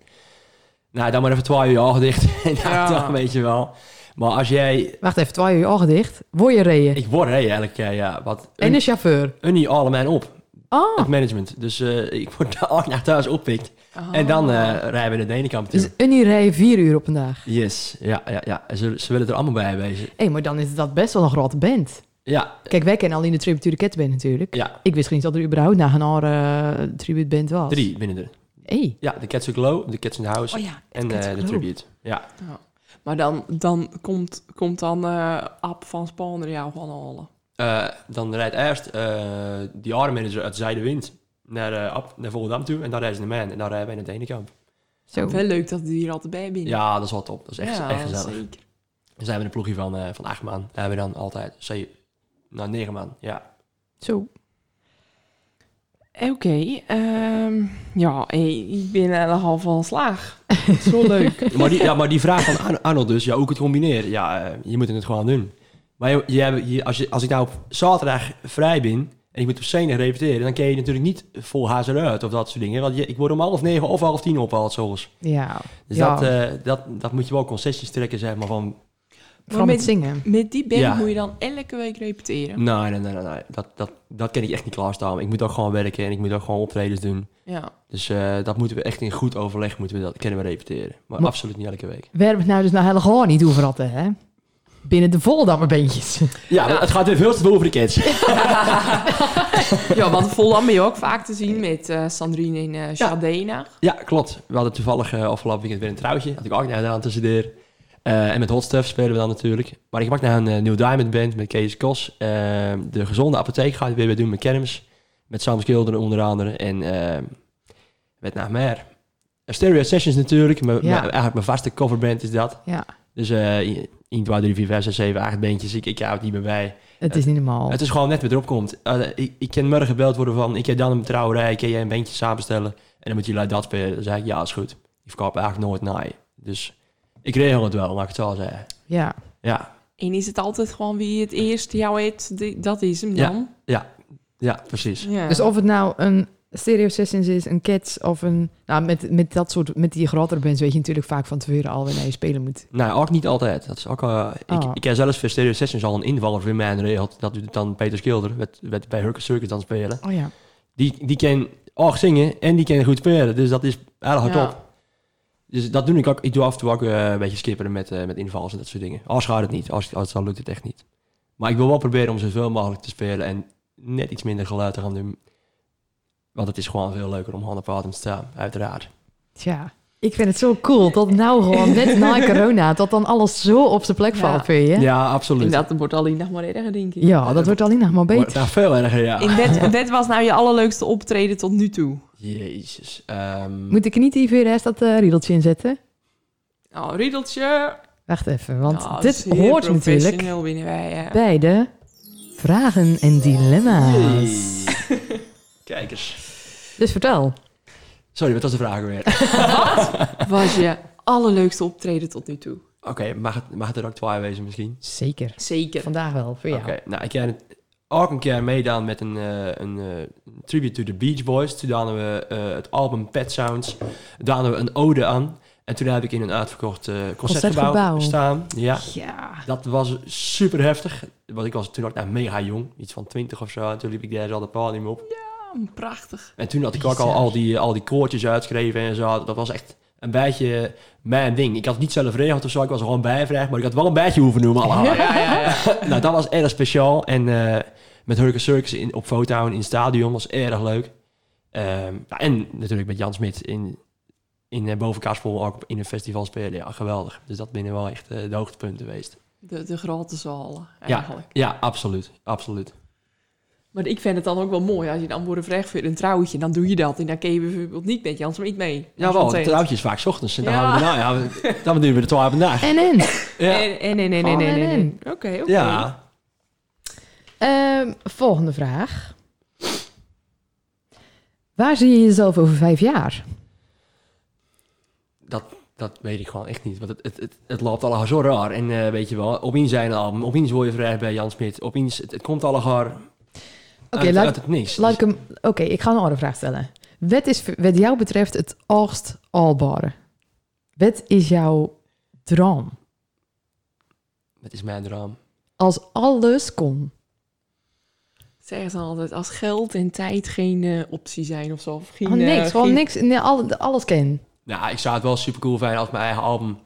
[SPEAKER 5] Nou, dan maar even 12 uur al dicht. <laughs> en
[SPEAKER 1] Ja.
[SPEAKER 5] dan weet je wel. Maar als jij...
[SPEAKER 4] wacht even, twee uur al gedicht. Word je reden.
[SPEAKER 5] Ik word, hé, eigenlijk, ja, eh, ja. Wat,
[SPEAKER 4] En een chauffeur.
[SPEAKER 5] Unnie allemaal op,
[SPEAKER 4] Oh,
[SPEAKER 5] het management. Dus eh, ik word <laughs> daar ook naar thuis oppikt. En dan eh, rijden we naar Denenkamp
[SPEAKER 4] dus
[SPEAKER 5] toe.
[SPEAKER 4] een rij vier uur op een dag.
[SPEAKER 5] Yes, ja, ja, ja. En Ze, ze willen er allemaal bij wezen.
[SPEAKER 4] Hé, maar dan is dat best wel een grote band.
[SPEAKER 5] Ja,
[SPEAKER 4] Kijk, wij kennen al in de Tribute to the Cat Band natuurlijk.
[SPEAKER 5] ja.
[SPEAKER 4] Ik wist niet dat er überhaupt na een hour eh, Tribute Band was.
[SPEAKER 5] Drie binnen de...
[SPEAKER 4] Hey.
[SPEAKER 5] Ja, de Cats Who Glow, de Cats in the House
[SPEAKER 1] Oh ja.
[SPEAKER 5] en
[SPEAKER 4] Cats Who
[SPEAKER 5] eh, de
[SPEAKER 4] Glow.
[SPEAKER 5] Tribute. Ja,
[SPEAKER 1] Maar dan, dan komt, komt dan eh Ab van Spalner jou gewoon halen.
[SPEAKER 5] Eh, dan rijdt eerst eh die arm manager uit Zijdewind naar, eh Ab- naar Volendam toe. En dan rijden ze naar Man en dan rijden wij naar Denenkamp.
[SPEAKER 4] Zo.
[SPEAKER 1] Wel leuk dat die hier altijd bij binnen.
[SPEAKER 5] Oh. Ja, dat is wel top. Dat is echt, echt gezellig.
[SPEAKER 1] zeker.
[SPEAKER 5] Dan zijn we een ploegje van, eh, van acht man. Daar hebben we dan altijd zeven, nou negen man. Ja,
[SPEAKER 4] Zo.
[SPEAKER 1] Eh, Oké, ehm, ja, eh, ik ben aan de half van slag. Dat is wel leuk.
[SPEAKER 5] maar die, ja, maar die vraag van Ar- Arnold dus, ja, hoe ik het combineer. Ja, eh, je moet het gewoon doen. Maar je, je, hebt- je- als, je, als ik nou op zaterdag vrij ben en ik moet op scène repeteren, dan kun je natuurlijk niet vol hazer uit of dat soort dingen. Want je, ik word om half negen of half tien opgehaald
[SPEAKER 4] <laughs>
[SPEAKER 5] soms.
[SPEAKER 4] Ja.
[SPEAKER 5] Dus
[SPEAKER 4] Ja.
[SPEAKER 5] dat, eh, dat, dat moet je wel concessies trekken, zeg maar, van
[SPEAKER 4] Vooral
[SPEAKER 1] met-
[SPEAKER 4] met zingen.
[SPEAKER 1] Met die band
[SPEAKER 5] Ja. Mm.
[SPEAKER 1] moet je dan elke week repeteren.
[SPEAKER 5] nee, nee, nee, nee, nee. Dat, dat, dat kan ik echt niet klaarstaan. Ik moet ook gewoon werken en ik moet ook gewoon optredens doen.
[SPEAKER 1] Ja.
[SPEAKER 5] Dus eh, dat moeten we echt in goed overleg moeten we dat, kunnen we repeteren. Maar,
[SPEAKER 4] Maar-
[SPEAKER 5] absoluut niet elke week.
[SPEAKER 4] We hebben het nou dus nou helemaal niet over hadden, hè? binnen de Voldammerbeentjes.
[SPEAKER 5] Ja, het gaat weer veel te veel over de kids.
[SPEAKER 1] Ja, want Volendam ben je ook vaak te zien met eh, Sandrine en eh Shadena.
[SPEAKER 5] Ja, klopt. We hadden toevallig eh, afgelopen weekend weer een trouwtje. Had ik ook naar gedaan tussen de en met Hot Stuff spelen we dan natuurlijk. Maar ik mag naar een eh, New Diamond Band met Kees Kos. Eh, de gezonde apotheek gaat weer weer doen met kermis. Met Sam Schilder onder andere. En eh, met naar meer. Stereo Sessions natuurlijk. Mijn-
[SPEAKER 4] Ja.
[SPEAKER 5] mijn- eigenlijk mijn vaste coverband is dat.
[SPEAKER 4] Ja.
[SPEAKER 5] Dus eh 1, 2, 3, 4, 5, 6, 7, 8 bandjes. Ik, ik hou het niet meer bij.
[SPEAKER 4] <laughs> Het is niet normaal.
[SPEAKER 5] Het is gewoon net wat erop komt. Eh, ik, ik kan morgen gebeld worden van, ik heb dan een trouwerij, kan jij een bandje samenstellen? En dan moet jullie dat spelen. Dan zeg ik, ja, is goed. Ik verkoop eigenlijk nooit naai. Dus ik regel het wel, laat ik het zo zeggen.
[SPEAKER 4] Ja.
[SPEAKER 5] Ja,
[SPEAKER 1] En is het altijd gewoon wie het eerst jou eet, die- dat is hem
[SPEAKER 5] Ja.
[SPEAKER 1] dan.
[SPEAKER 5] ja, precies.
[SPEAKER 1] Ja.
[SPEAKER 4] Dus of het nou een Stereo Sessions is, een Cats of een... Nou, met, met dat soort, met die grotere bands weet je natuurlijk vaak van tevoren al wanneer je spelen moet.
[SPEAKER 5] Nou, ook niet altijd. Dat is ook, eh, ik,
[SPEAKER 4] Oh.
[SPEAKER 5] ik heb zelfs voor Stereo Sessions al een invaller voor mij geregeld. Dat doet dan Peter Schilder, werd, werd bij Hurricane Circus dan spelen.
[SPEAKER 4] Oh ja.
[SPEAKER 5] Die, die kan ook zingen en die kan goed spelen. Dus dat is erg hard
[SPEAKER 1] Ja.
[SPEAKER 5] op. Dus dat doe ik ook. Ik doe af en toe ook eh, een beetje skipperen met, eh, met invals en dat soort dingen. Als gaat het niet. Als, als dan lukt het echt niet. Maar ik wil wel proberen om zoveel mogelijk te spelen en net iets minder geluid te gaan doen. Want het is gewoon veel leuker om hand op adem te staan, uiteraard.
[SPEAKER 4] Tja. Ik vind het zo cool dat nou gewoon
[SPEAKER 1] <laughs>
[SPEAKER 4] net na corona, dat dan alles zo op zijn plek
[SPEAKER 1] Ja.
[SPEAKER 4] valt voor je.
[SPEAKER 5] Ja,
[SPEAKER 4] Ja,
[SPEAKER 5] absoluut.
[SPEAKER 1] En dat wordt alleen nog maar erger, denk ik.
[SPEAKER 4] dat wordt alleen nog maar
[SPEAKER 5] Wordt
[SPEAKER 4] beter.
[SPEAKER 5] daar veel erger, ja.
[SPEAKER 1] En dat, dat was nou je allerleukste optreden tot nu toe.
[SPEAKER 5] Jezus. ehm,
[SPEAKER 4] Moet ik er niet IVRS dat eh, riedeltje in zetten?
[SPEAKER 1] Oh, Riedeltje.
[SPEAKER 4] Wacht even, want
[SPEAKER 1] Nou,
[SPEAKER 4] dit
[SPEAKER 1] dat is heel
[SPEAKER 4] hoort natuurlijk
[SPEAKER 1] professioneel binnen wij.
[SPEAKER 4] <laughs>
[SPEAKER 1] eh.
[SPEAKER 4] bij de vragen en dilemma's.
[SPEAKER 5] Hey. Kijk eens.
[SPEAKER 4] Dus vertel.
[SPEAKER 5] Sorry, wat was de vraag weer? <laughs>
[SPEAKER 1] Was je allerleukste optreden tot nu toe?
[SPEAKER 5] Oké, mag, het, mag het er ook twee wezen misschien?
[SPEAKER 4] Zeker.
[SPEAKER 1] Zeker.
[SPEAKER 4] Vandaag wel, voor jou.
[SPEAKER 5] Oké, nou ik heb ook een keer meedaan met een, eh, een eh, tribute to the Beach Boys. Toen daden we eh, het album Pet Sounds, daden we een ode aan. En toen heb ik in een uitverkocht eh, concertgebouw,
[SPEAKER 4] Concertgebouw.
[SPEAKER 5] staan. Ja,
[SPEAKER 4] Ja.
[SPEAKER 5] dat was super heftig. Want ik was toen ook nou, mega jong, iets van 20 of zo. En toen liep ik daar al de podium op.
[SPEAKER 1] Oh, Prachtig.
[SPEAKER 5] En toen had ik ook al,
[SPEAKER 4] Bizar.
[SPEAKER 5] al, die, al die koortjes uitgeschreven en zo. Dat was echt een beetje mijn ding. Ik had het niet zelf regeld of zo. Ik was er gewoon bijvraag. Maar ik had wel een bijtje hoeven noemen allemaal.
[SPEAKER 4] <laughs>
[SPEAKER 5] nou, dat was erg speciaal. En eh, met Hurricane Circus in, op Fotown in het stadion was erg leuk. Ehm, ja, en natuurlijk met Jan Smit in, in eh, Bovenkaarspoel ook op- in een festival spelen. Ja, geweldig. Dus dat binnen wel echt eh, de hoogtepunten geweest.
[SPEAKER 1] De, de grote zalen,
[SPEAKER 5] Ja,
[SPEAKER 1] eigenlijk.
[SPEAKER 5] ja, absoluut. Absoluut.
[SPEAKER 1] Maar ik vind het dan ook wel mooi. Als je dan wordt gevraagd voor een trouwtje, dan doe je dat. En dan kun je bijvoorbeeld niet met Jans, maar niet mee.
[SPEAKER 5] Ja, wel.
[SPEAKER 1] Want-
[SPEAKER 5] Het trouwtje is vaak 's ochtends. En dan
[SPEAKER 1] Ja.
[SPEAKER 5] houden we, nou ja, we- dan doen we de twaalf vandaag.
[SPEAKER 4] En en. Eh,
[SPEAKER 5] Ja.
[SPEAKER 1] En, en, en, en,
[SPEAKER 4] Oh.
[SPEAKER 1] en, en, en. Oké, oké.
[SPEAKER 5] ja.
[SPEAKER 4] Ehm, volgende vraag. Waar zie je jezelf over vijf jaar?
[SPEAKER 5] Dat weet ik gewoon echt niet. Want het, het, het, het loopt allemaal zo raar. En eh, weet je wel, opeens zijn album, opeens word je vrij bij Jan Smit. Opeens, het, het komt allemaal uit,
[SPEAKER 4] Oké,
[SPEAKER 5] uit,
[SPEAKER 4] laat,
[SPEAKER 5] het niks. Dus
[SPEAKER 4] laat ik hem. Oké, ik ga een andere vraag stellen. Wat is voor- wat jou betreft het oogst albare? Wat is jouw droom?
[SPEAKER 5] Dus Het is mijn droom.
[SPEAKER 4] Als alles kon.
[SPEAKER 1] Zeggen ze altijd, als geld en tijd geen eh, optie zijn of zo. Of geen,
[SPEAKER 4] Gewoon Oh, niks,
[SPEAKER 1] eh,
[SPEAKER 4] gewoon
[SPEAKER 1] geen-
[SPEAKER 4] niks. Nee, al- alles ken.
[SPEAKER 5] Nou, ik zou het wel super cool vinden als mijn eigen album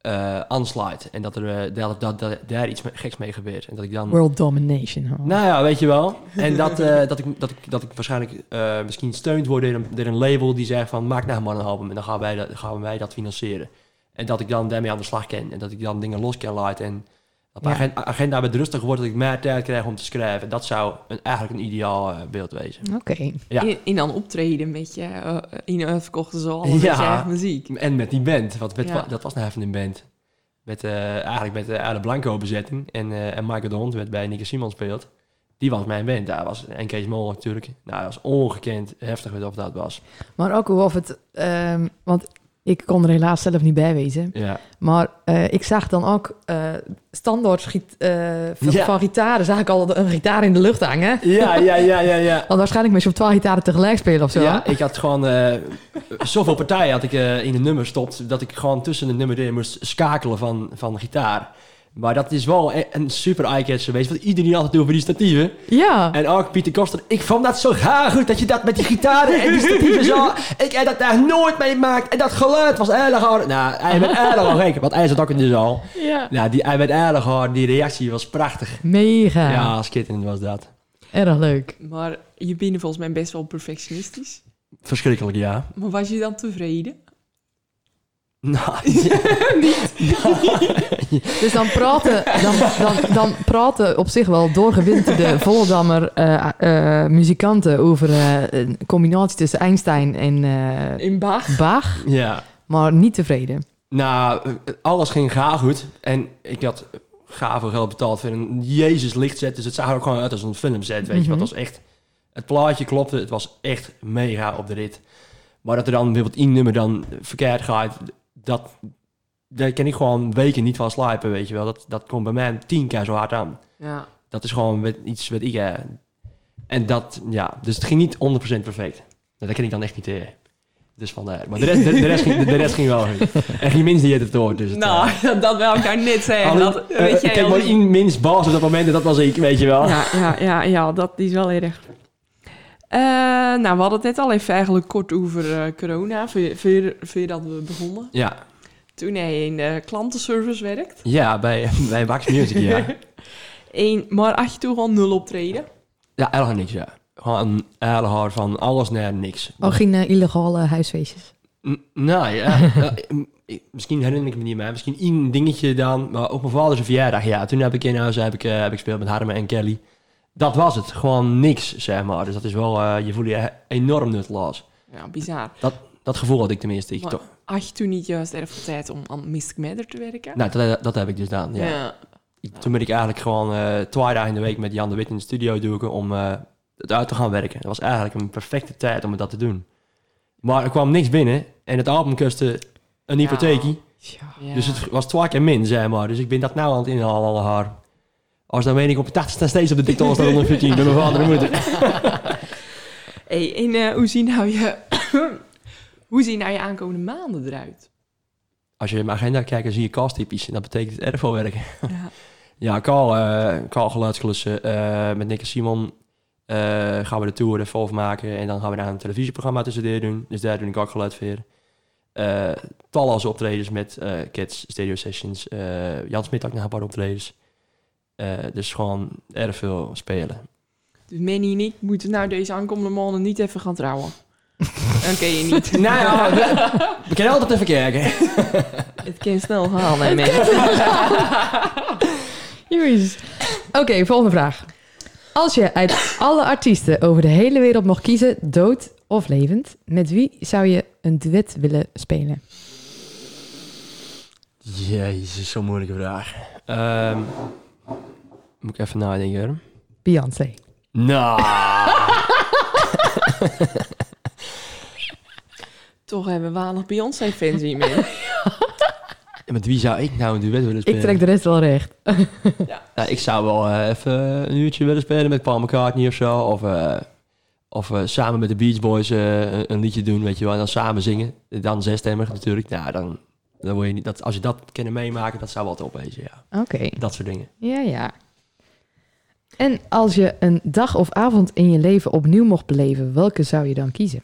[SPEAKER 5] eh, aansluit. En dat er eh, dat, dat, dat- daar iets me- geks mee gebeurt. En dat ik dan...
[SPEAKER 4] World domination. hoor.
[SPEAKER 5] Nou ja, weet je wel. En dat, eh, dat, ik, dat, ik, dat ik waarschijnlijk eh, misschien steund word door een, door een label die zegt van maak nou maar een album en dan gaan wij, dat, gaan wij dat financieren. En dat ik dan daarmee aan de slag kan en dat ik dan dingen los kan laten en dat mijn
[SPEAKER 4] Ja.
[SPEAKER 5] agen- agenda wat rustiger wordt, dat ik meer tijd krijg om te schrijven. Dat zou een, eigenlijk een ideaal eh, beeld wezen.
[SPEAKER 4] Oké.
[SPEAKER 5] Ja.
[SPEAKER 1] En, en dan optreden met je eh, in een verkochte zaal met
[SPEAKER 5] Ja.
[SPEAKER 1] je eigen muziek.
[SPEAKER 5] En met die band, want met,
[SPEAKER 1] Ja.
[SPEAKER 5] wa- dat was nou even een band. Met, eh, eigenlijk met de Aarde Blanco bezetting en, eh en Michael de Hond werd bij Nicky Simon speelt. Die was mijn band, daar was en Kees Mol natuurlijk. Nou, dat was ongekend heftig wat of dat was.
[SPEAKER 4] Maar ook hoe of het. ehm, want ik kon er helaas zelf niet bij wezen.
[SPEAKER 5] Ja.
[SPEAKER 4] Maar eh, ik zag dan ook eh, standaard giet, eh, van,
[SPEAKER 5] Ja.
[SPEAKER 4] van gitaren. Zag ik al de- een gitaar in de lucht hangen.
[SPEAKER 5] Ja, ja, ja, ja, ja.
[SPEAKER 4] Want waarschijnlijk moest je op twaalf gitaren tegelijk spelen of zo.
[SPEAKER 5] Ja, ik had gewoon eh, zoveel partijen had ik eh, in een nummer stopt dat ik gewoon tussen de nummer in moest schakelen van, van gitaar. Maar dat is wel e- een super eye-catcher geweest. Want iedereen had het over die statieven.
[SPEAKER 4] Ja.
[SPEAKER 5] En ook Pieter Koster. Ik vond dat zo gaar goed dat je dat met die gitaren en die statieven <laughs> zo... Ik heb dat daar nooit mee gemaakt. En dat geluid was erg hard. Nou, hij werd erg hard gek. Want hij zat ook in de zaal.
[SPEAKER 4] ja.
[SPEAKER 5] Nou, die, hij werd erg hard. Die reactie was prachtig.
[SPEAKER 4] Mega.
[SPEAKER 5] Ja, schitterend was dat.
[SPEAKER 4] Erg leuk.
[SPEAKER 1] Maar je bent volgens mij best wel perfectionistisch.
[SPEAKER 5] Verschrikkelijk, ja.
[SPEAKER 1] Maar was je dan tevreden?
[SPEAKER 5] <laughs> Nou, ja.
[SPEAKER 4] Dus dan praten, dan, dan, dan praten op zich wel
[SPEAKER 5] <laughs>
[SPEAKER 4] doorgewinterde Volendammer eh, eh, muzikanten over eh, een combinatie tussen Einstein en eh,
[SPEAKER 1] In Bach?
[SPEAKER 4] Bach,
[SPEAKER 5] <laughs> ja.
[SPEAKER 4] maar niet tevreden.
[SPEAKER 5] Nou, alles ging gaar goed. En ik had gaar veel geld betaald voor een Jezus lichtset. Dus het zag er ook gewoon uit als een filmset, weet je.
[SPEAKER 4] Mhm.
[SPEAKER 5] Want het was echt... Het plaatje klopte. Het was echt mega op de rit. Maar dat er dan bijvoorbeeld één nummer dan verkeerd gaat... Dat, daar kan ik gewoon weken niet van slapen, weet je wel. Dat, dat komt bij mij tien keer zo hard aan.
[SPEAKER 1] Ja.
[SPEAKER 5] Dat is gewoon met, iets wat ik... eh, en dat, ja... Dus het ging niet 100% perfect. Nou, dat kan ik dan echt niet tegen. Dus vandaar. Maar de rest, de, de rest, ging, de, de rest ging wel goed. En geen minst die het het door. Dus het, eh,
[SPEAKER 1] Nou, <laughs> dat wil ik daar net zeggen.
[SPEAKER 5] Alleen,
[SPEAKER 1] Dat,
[SPEAKER 5] eh,
[SPEAKER 1] weet jij,
[SPEAKER 5] kijk, maar
[SPEAKER 1] als-
[SPEAKER 5] één minst baas op dat moment, en dat was ik, weet je wel.
[SPEAKER 1] ja, ja, ja, ja, dat is wel erg. Eh, nou, we hadden het net al even eigenlijk kort over eh, corona, voor- voor- voordat we begonnen.
[SPEAKER 5] Ja,
[SPEAKER 1] Toen hij in de klantenservice werkt.
[SPEAKER 5] ja bij, bij Wax
[SPEAKER 1] <laughs>
[SPEAKER 5] Music, ja.
[SPEAKER 1] Eén, maar had je toen gewoon nul optreden?
[SPEAKER 5] Ja, erg niks, ja. Gewoon erg hard van alles naar niks.
[SPEAKER 4] Oh, geen eh, illegale huisfeestjes.
[SPEAKER 5] N- nou <laughs> ja, ja, ik- misschien herinner ik me niet meer, misschien één dingetje dan. Maar op mijn vaders verjaardag, ja. Toen heb ik in huis heb ik, eh, heb ik gespeeld met Harmen en Kelly. Dat was het, gewoon niks, zeg maar. Dus dat is wel, eh, je voelt je enorm nutteloos.
[SPEAKER 1] Ja, bizar.
[SPEAKER 5] Dat gevoel had ik tenminste. Ik
[SPEAKER 1] Maar-
[SPEAKER 5] to-
[SPEAKER 1] Had je toen niet juist erg veel tijd om aan Mystic Matter te werken?
[SPEAKER 5] nou, dat, dat heb ik dus gedaan, ja. Ik- Toen ben ik eigenlijk gewoon eh twee dagen in de week met Jan de Wit in de studio doeken om eh, het uit te gaan werken. Dat was eigenlijk een perfecte tijd om dat te doen. Maar er kwam niks binnen en het album kostte een hypotheekje.
[SPEAKER 4] Ja.
[SPEAKER 1] Ja.
[SPEAKER 5] Dus het was twee keer min, zeg maar. Dus ik ben dat nou aan het inhalen, al haar. Als dan weet ik op de 80 staan steeds op de TikTok staan <laughs> 114 bij mijn vader en moeder.
[SPEAKER 1] <laughs> Hey, en eh, hoe zien nou je... <coughs> hoe zien nou je aankomende maanden eruit?
[SPEAKER 5] Als je in mijn agenda kijkt, dan zie je kaalstypisch. En dat betekent erg veel werken.
[SPEAKER 1] Ja.
[SPEAKER 5] Ja, kaal, eh kaal geluidsklussen. eh, met Nick en Simon eh, gaan we de tour even afmaken. En dan gaan we daar een televisieprogramma tussendoor doen. Dus daar doe ik ook geluid voor. Eh talloze optredens met eh Kids, Stereo Sessions. eh Jan Smit ook nog een paar optredens. Eh, dus gewoon erg veel spelen.
[SPEAKER 1] Dus Manny en ik moeten nou deze aankomende maanden niet even gaan
[SPEAKER 5] <laughs>
[SPEAKER 1] trouwen. Dan ken je niet.
[SPEAKER 5] <laughs>
[SPEAKER 1] <laughs>
[SPEAKER 5] Nou ja, we, we kunnen altijd even kijken.
[SPEAKER 1] Het kan snel gaan, hè, Manny?
[SPEAKER 4] Jezus. Oké, volgende vraag. Als je uit alle artiesten over de hele wereld mocht kiezen, dood of levend, met wie zou je een duet willen spelen?
[SPEAKER 5] Jezus, zo'n moeilijke vraag. Ehm, moet ik even nadenken. hoor.
[SPEAKER 4] Beyoncé.
[SPEAKER 5] Nou.
[SPEAKER 1] <laughs> Toch hebben we weinig Beyoncé-fans hier meer.
[SPEAKER 5] <laughs> En met wie zou ik nou een duet willen
[SPEAKER 4] Ik
[SPEAKER 5] spelen?
[SPEAKER 4] trek de rest wel recht.
[SPEAKER 5] Nou, ik zou wel eh, even een uurtje willen spelen met Paul McCartney of zo. Of, eh, of eh, samen met de Beach Boys eh, een, een liedje doen, weet je wel. En dan samen zingen. Dan zesstemmig natuurlijk. Nou, dan, dan wil je niet... Dat, als je dat kunnen meemaken, dat zou wel top wezen, ja.
[SPEAKER 4] Oké.
[SPEAKER 5] Dat soort dingen.
[SPEAKER 4] Ja, ja. En als je een dag of avond in je leven opnieuw mocht beleven, welke zou je dan kiezen?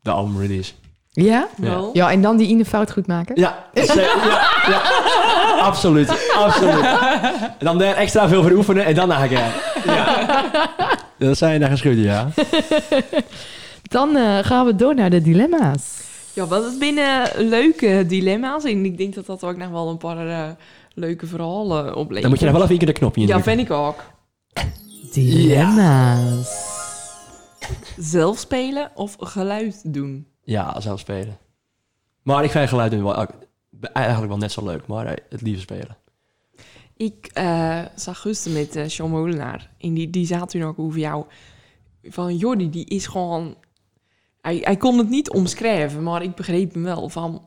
[SPEAKER 5] De album release.
[SPEAKER 4] Ja?
[SPEAKER 1] Wel?
[SPEAKER 4] Ja, en dan die ene fout goed maken?
[SPEAKER 5] Ja, ze- ja, ja. absoluut. Absoluut. En dan daar extra veel voor oefenen en dan naar gaan. Ja. Dat zijn je naar geschud, ja.
[SPEAKER 4] Dan eh, gaan we door naar de dilemma's.
[SPEAKER 1] Ja, want het binnen leuke dilemma's. En ik denk dat dat ook nog wel een paar eh, leuke verhalen oplevert.
[SPEAKER 5] Dan moet je nog wel even een keer de knopje in.
[SPEAKER 1] Ja, vind ik ook.
[SPEAKER 4] Dilemma's.
[SPEAKER 1] Zelf spelen of geluid doen?
[SPEAKER 5] Ja, zelf spelen. Maar ik vind geluid doen wel, eigenlijk wel net zo leuk, maar eh, het liever spelen.
[SPEAKER 1] Ik eh, zag gisteren met eh Sean Molenaar. En die, die zat toen ook over jou. Van Jordi, die is gewoon... Hij, hij kon het niet omschrijven, maar ik begreep hem wel. Van,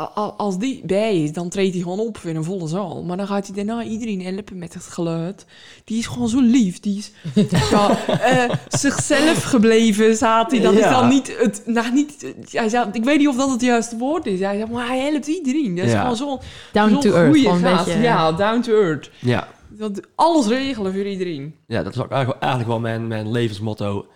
[SPEAKER 1] a- a- als die bij is, dan treedt hij gewoon op weer een volle zaal. Maar dan gaat hij daarna iedereen helpen met het geluid. Die is gewoon zo lief. Die is <laughs> ja, eh, zichzelf gebleven, zat hij. Dat is
[SPEAKER 5] Ja.
[SPEAKER 1] dan niet het... Nou, niet, hij zei, ik weet niet of dat het juiste woord is. Hij zei, maar hij helpt iedereen. Dat is
[SPEAKER 5] Ja.
[SPEAKER 1] gewoon zo'n
[SPEAKER 4] Down
[SPEAKER 1] zo'n
[SPEAKER 4] to earth.
[SPEAKER 1] goeie
[SPEAKER 4] Gewoon een
[SPEAKER 1] gast.
[SPEAKER 4] beetje... eh,
[SPEAKER 1] Ja, down to earth.
[SPEAKER 5] Ja,
[SPEAKER 1] Dat, alles regelen voor iedereen.
[SPEAKER 5] ja dat is ook eigenlijk, eigenlijk wel mijn, mijn levensmotto.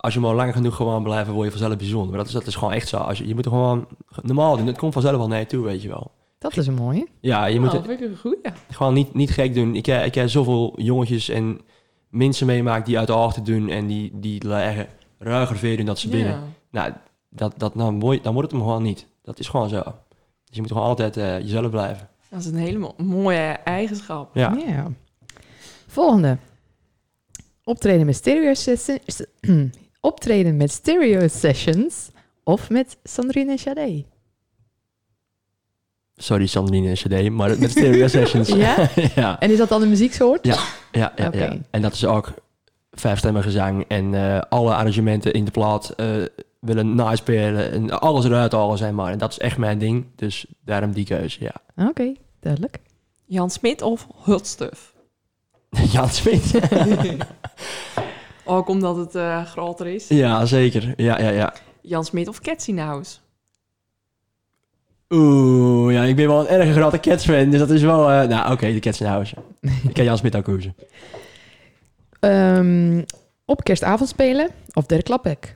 [SPEAKER 5] Als je maar lang genoeg gewoon blijven, word je vanzelf bijzonder. Maar dat is, dat is gewoon echt zo. Als je, je moet er gewoon normaal doen. Het komt vanzelf wel naar je toe, weet je wel.
[SPEAKER 4] Dat is een mooie.
[SPEAKER 5] Ja, je moet
[SPEAKER 1] Nou,
[SPEAKER 5] het
[SPEAKER 1] vind ik een goeie.
[SPEAKER 5] gewoon niet, niet gek doen. Ik, eh, ik heb zoveel jongetjes en mensen meemaakt die uit de hoogte doen. En die, die leggen ruiger veer doen dat ze binnen.
[SPEAKER 1] Ja.
[SPEAKER 5] Nou, dat, dat, nou, mooi, dan wordt het hem gewoon niet. Dat is gewoon zo. Dus je moet gewoon altijd eh, jezelf blijven.
[SPEAKER 1] Dat is een hele mo- mooie eigenschap.
[SPEAKER 5] Ja.
[SPEAKER 4] Volgende. Optreden met stereo sessions. <clears throat> Optreden met stereo sessions. Of met Sandrine Chadet.
[SPEAKER 5] Sorry, Sandrine en CD, maar met Stereo Sessions.
[SPEAKER 4] Ja?
[SPEAKER 5] <laughs> ja,
[SPEAKER 4] En is dat dan de muzieksoort?
[SPEAKER 5] Ja. ja, ja,
[SPEAKER 4] Oké.
[SPEAKER 5] ja. En dat is ook vijfstemmige gezang en eh, alle arrangementen in de plaat eh, willen naspelen. En alles eruit, alles en maar. En dat is echt mijn ding, dus daarom die keuze, ja. <laughs>
[SPEAKER 4] Ah, Oké, duidelijk.
[SPEAKER 1] Jan Smit of Hutstuff?
[SPEAKER 5] Jan Smit.
[SPEAKER 1] Ook omdat het eh, groter is.
[SPEAKER 5] ja, zeker. Ja, ja, ja.
[SPEAKER 1] Jan Smit of Cats in House?
[SPEAKER 5] Oeh, ja, ik ben wel een erg grote Cats fan, dus dat is wel... eh, nou, oké, de Cats in huis. Ik ken Jan Smit ook koersen.
[SPEAKER 4] Ehm, op kerstavond spelen of Dirk Klappek?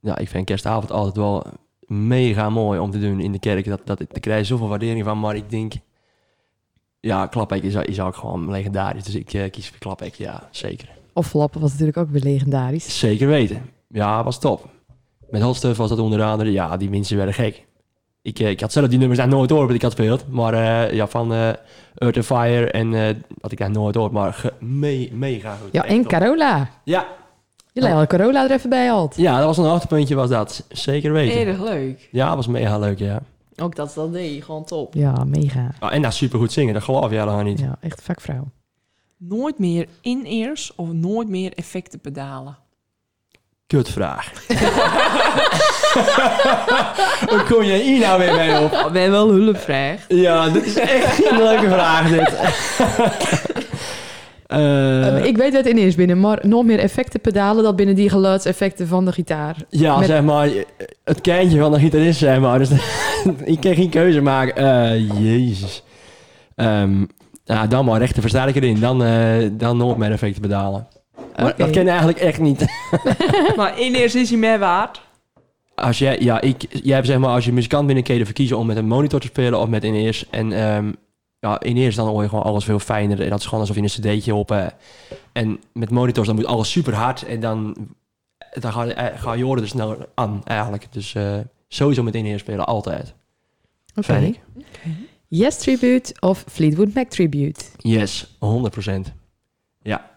[SPEAKER 5] Ja, ik vind kerstavond altijd wel mega mooi om te doen in de kerk. Dat, dat, daar krijg je zoveel waardering van. Maar ik denk, ja, Klapek is, is ook gewoon legendarisch. Dus ik eh, kies voor Klapek, ja, zeker.
[SPEAKER 4] Of Flappen was natuurlijk ook weer legendarisch.
[SPEAKER 5] Zeker weten. Ja, was top. Met Hotstuff was dat onder andere, ja, die mensen werden gek. Ik, eh, ik had zelf die nummers daar nooit door dat ik had speeld. Maar eh, ja, van eh, Earth and Fire en eh had ik daar nooit door. Maar ge- me- mega goed.
[SPEAKER 4] Ja,
[SPEAKER 5] Echt Oh.
[SPEAKER 4] en
[SPEAKER 5] top.
[SPEAKER 4] Carola.
[SPEAKER 5] Ja,
[SPEAKER 4] Je legt al Carola er even bij had.
[SPEAKER 5] ja, dat was een hoogtepuntje was dat. Zeker weten.
[SPEAKER 1] Erg leuk.
[SPEAKER 5] Ja, was mega leuk, ja.
[SPEAKER 1] Ook dat ze dat deed, gewoon top.
[SPEAKER 4] Ja, mega.
[SPEAKER 5] Ah, en dat supergoed zingen, dat geloof jij helemaal niet.
[SPEAKER 4] Ja, echt vakvrouw.
[SPEAKER 1] Nooit meer in-ears of nooit meer effecten
[SPEAKER 4] <laughs>
[SPEAKER 1] pedalen?
[SPEAKER 5] Kutvraag. <laughs> Hoe kom je hier nou weer mee op?
[SPEAKER 1] Oh, ben wel hulpvraag.
[SPEAKER 5] Ja, dit is echt geen leuke vraag dit. <laughs> Eh,
[SPEAKER 4] Ehm, ik weet het ineens binnen, maar nog meer effecten pedalen dat binnen die geluidseffecten van de gitaar.
[SPEAKER 5] ja,
[SPEAKER 4] met-
[SPEAKER 5] zeg maar, het kindje van de gitarist, zeg maar. Dus <laughs> ik kan geen keuze maken. Eh, jezus. Ehm, ja, dan maar rechter versterker in. Dan, eh, dan nooit meer effecten bedalen. Maar
[SPEAKER 4] Oké.
[SPEAKER 5] dat ken je eigenlijk echt niet.
[SPEAKER 1] <laughs> maar in-ears is hij meer waard.
[SPEAKER 5] Als jij, ja, ik, jij hebt zeg maar, als je muzikant bent, dan kun je ervoor kiezen om met een monitor te spelen of met in-ears. En ehm, ja, in-ears dan hoor je gewoon alles veel fijner. En dat is gewoon alsof je een cd'tje op. eh, en met monitors dan moet alles super hard. En dan, dan ga, je- eh, ga je horen dus nou aan eigenlijk. Dus eh, sowieso met in-ears spelen, altijd.
[SPEAKER 4] Oké.
[SPEAKER 5] Fijn, ik.
[SPEAKER 4] Yes Tribute of Fleetwood Mac Tribute.
[SPEAKER 5] Yes, 100%. Ja.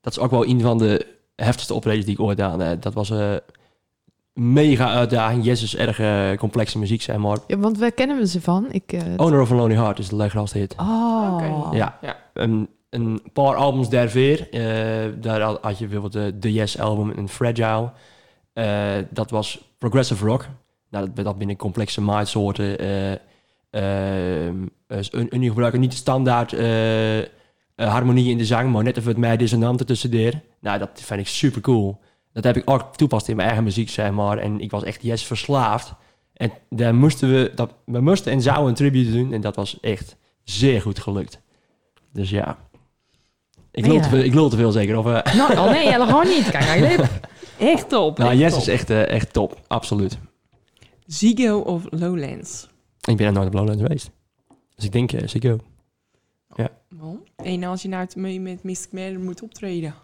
[SPEAKER 5] Dat is ook wel een van de heftigste optredens die ik ooit gedaan heb. Dat was een mega uitdaging. Yes is erg eh, complexe muziek, zeg maar.
[SPEAKER 4] Ja, want waar kennen we ze van? Ik, eh,
[SPEAKER 5] Owner of a Lonely Heart is de leukste hit.
[SPEAKER 4] Oh.
[SPEAKER 1] Oké.
[SPEAKER 5] Oh. Ja.
[SPEAKER 1] Ja.
[SPEAKER 5] Een, een paar albums daarvoor. eh daar had had je bijvoorbeeld de, de Yes album en Fragile. Eh, dat was progressive rock. Nou, dat, dat binnen complexe maatsoorten. eh ehm, is een, een gebruiken niet de standaard eh, eh, harmonie in de zang, maar net even het mij dissonanten tussen deer. Nou, dat vind ik super cool. Dat heb ik ook toepast in mijn eigen muziek, zeg maar. En ik was echt yes verslaafd. En daar moesten we, dat, we moesten en zouden een tribute doen. En dat was echt zeer goed gelukt. Dus ja. Ik lul,
[SPEAKER 4] Ja.
[SPEAKER 5] Te, veel, ik lul te veel zeker. Of, eh,
[SPEAKER 1] <laughs>
[SPEAKER 4] Nou, oh nee, helemaal niet. Kijk naar je lip.
[SPEAKER 1] Echt top.
[SPEAKER 5] nou,
[SPEAKER 1] echt
[SPEAKER 5] Yes
[SPEAKER 1] top.
[SPEAKER 5] is echt, eh, echt top. Absoluut.
[SPEAKER 1] Ziggo of Lowlands?
[SPEAKER 5] Ik ben er nooit op Lowlands geweest. Dus ik denk, eh Ziggo.
[SPEAKER 1] Wel, En als je nou te- mee met Mystic Manor moet optreden,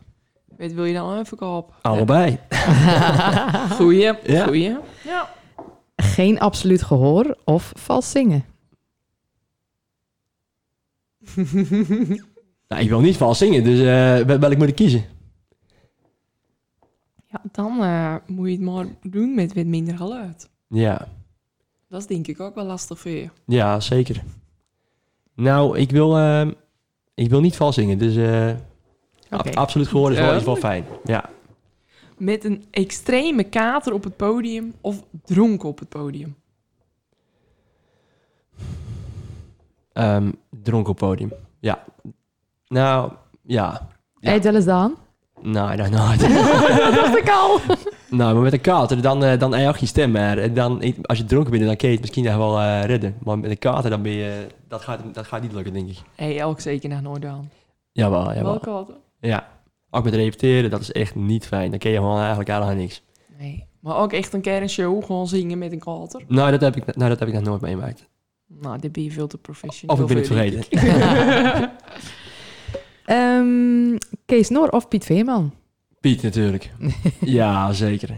[SPEAKER 1] wat wil je dan even kopen?
[SPEAKER 5] Allebei.
[SPEAKER 1] Ah. Goeie,
[SPEAKER 5] Ja.
[SPEAKER 1] goeie.
[SPEAKER 4] <laughs> Geen absoluut gehoor of vals zingen.
[SPEAKER 5] Nou, ik wil niet vals zingen, dus eh, wel- welk moet ik kiezen?
[SPEAKER 1] <laughs> Ja, dan eh, moet je het maar doen met wat minder geluid.
[SPEAKER 5] Ja,
[SPEAKER 1] Dat is denk ik ook wel lastig voor je.
[SPEAKER 5] ja zeker. Nou, ik wil, eh, ik wil niet vals zingen, dus eh, ab-
[SPEAKER 4] Oké.
[SPEAKER 5] absoluut gehoor is wel, is wel fijn. Ja.
[SPEAKER 1] met een extreme kater op het podium of dronken op het podium?
[SPEAKER 5] Ehm dronken op podium. Ja. Nou, ja. Nou, Ja.
[SPEAKER 4] Hey, tel eens dan.
[SPEAKER 5] Nee, nee, nee.
[SPEAKER 4] Dat dacht ik al.
[SPEAKER 5] <laughs> nou, maar met een kater, dan, eh, dan heb je geen stem meer. En Dan, als je dronken bent, dan kun je het misschien nog wel eh, redden. Maar met een kater, dan ben je, eh, dat, gaat, dat gaat niet lukken, denk ik.
[SPEAKER 1] Hey, elk zeker nog nooit aan.
[SPEAKER 5] Jawel, jawel.
[SPEAKER 1] Welke hadden?
[SPEAKER 5] Ja. Ook met repeteren, dat is echt niet fijn. Dan kun je gewoon eigenlijk helemaal niks.
[SPEAKER 1] Nee. Maar ook echt een keer een show gewoon zingen met een kater.
[SPEAKER 5] Nou, dat heb ik, nou, dat heb ik nog nooit meemaakt.
[SPEAKER 1] Nou, dit ben je veel te professioneel.
[SPEAKER 5] Of ik ben het
[SPEAKER 1] voor, denk
[SPEAKER 5] vergeten.
[SPEAKER 4] <laughs>
[SPEAKER 5] <laughs>
[SPEAKER 4] Ehm, Kees Noor of Piet Veerman?
[SPEAKER 5] Piet natuurlijk. <laughs> ja, zeker.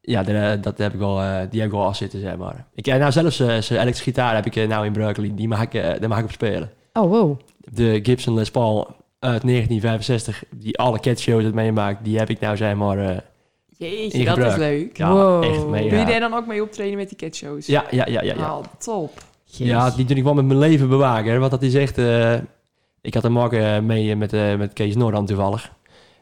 [SPEAKER 5] Ja, daar, eh, dat heb ik wel, eh, die heb ik wel afzitten, zeg maar. Ik, eh, nou, zelfs eh, zijn elektrische gitaar heb ik eh, nou in Berkeley. Die mag ik, eh, daar mag ik op spelen.
[SPEAKER 4] Oh, wow.
[SPEAKER 5] De Gibson Les Paul uit 1965, die alle cat shows had meemaakt, die heb ik nou, zeg maar, eh,
[SPEAKER 1] <laughs> Jeetje,
[SPEAKER 5] In
[SPEAKER 1] dat is
[SPEAKER 5] gebruik.
[SPEAKER 1] leuk.
[SPEAKER 5] ja,
[SPEAKER 4] Wow.
[SPEAKER 5] echt mee.
[SPEAKER 1] Doe je daar
[SPEAKER 5] Ja.
[SPEAKER 1] dan ook mee optreden met die catshows?
[SPEAKER 5] Ja, ja, ja, ja, ja.
[SPEAKER 1] Ah, top.
[SPEAKER 5] Ja, die doe ik wel met mijn leven bewaken. hè, Want dat is echt... eh, ik had een marker eh, mee eh, met, eh, met Kees Noordam toevallig.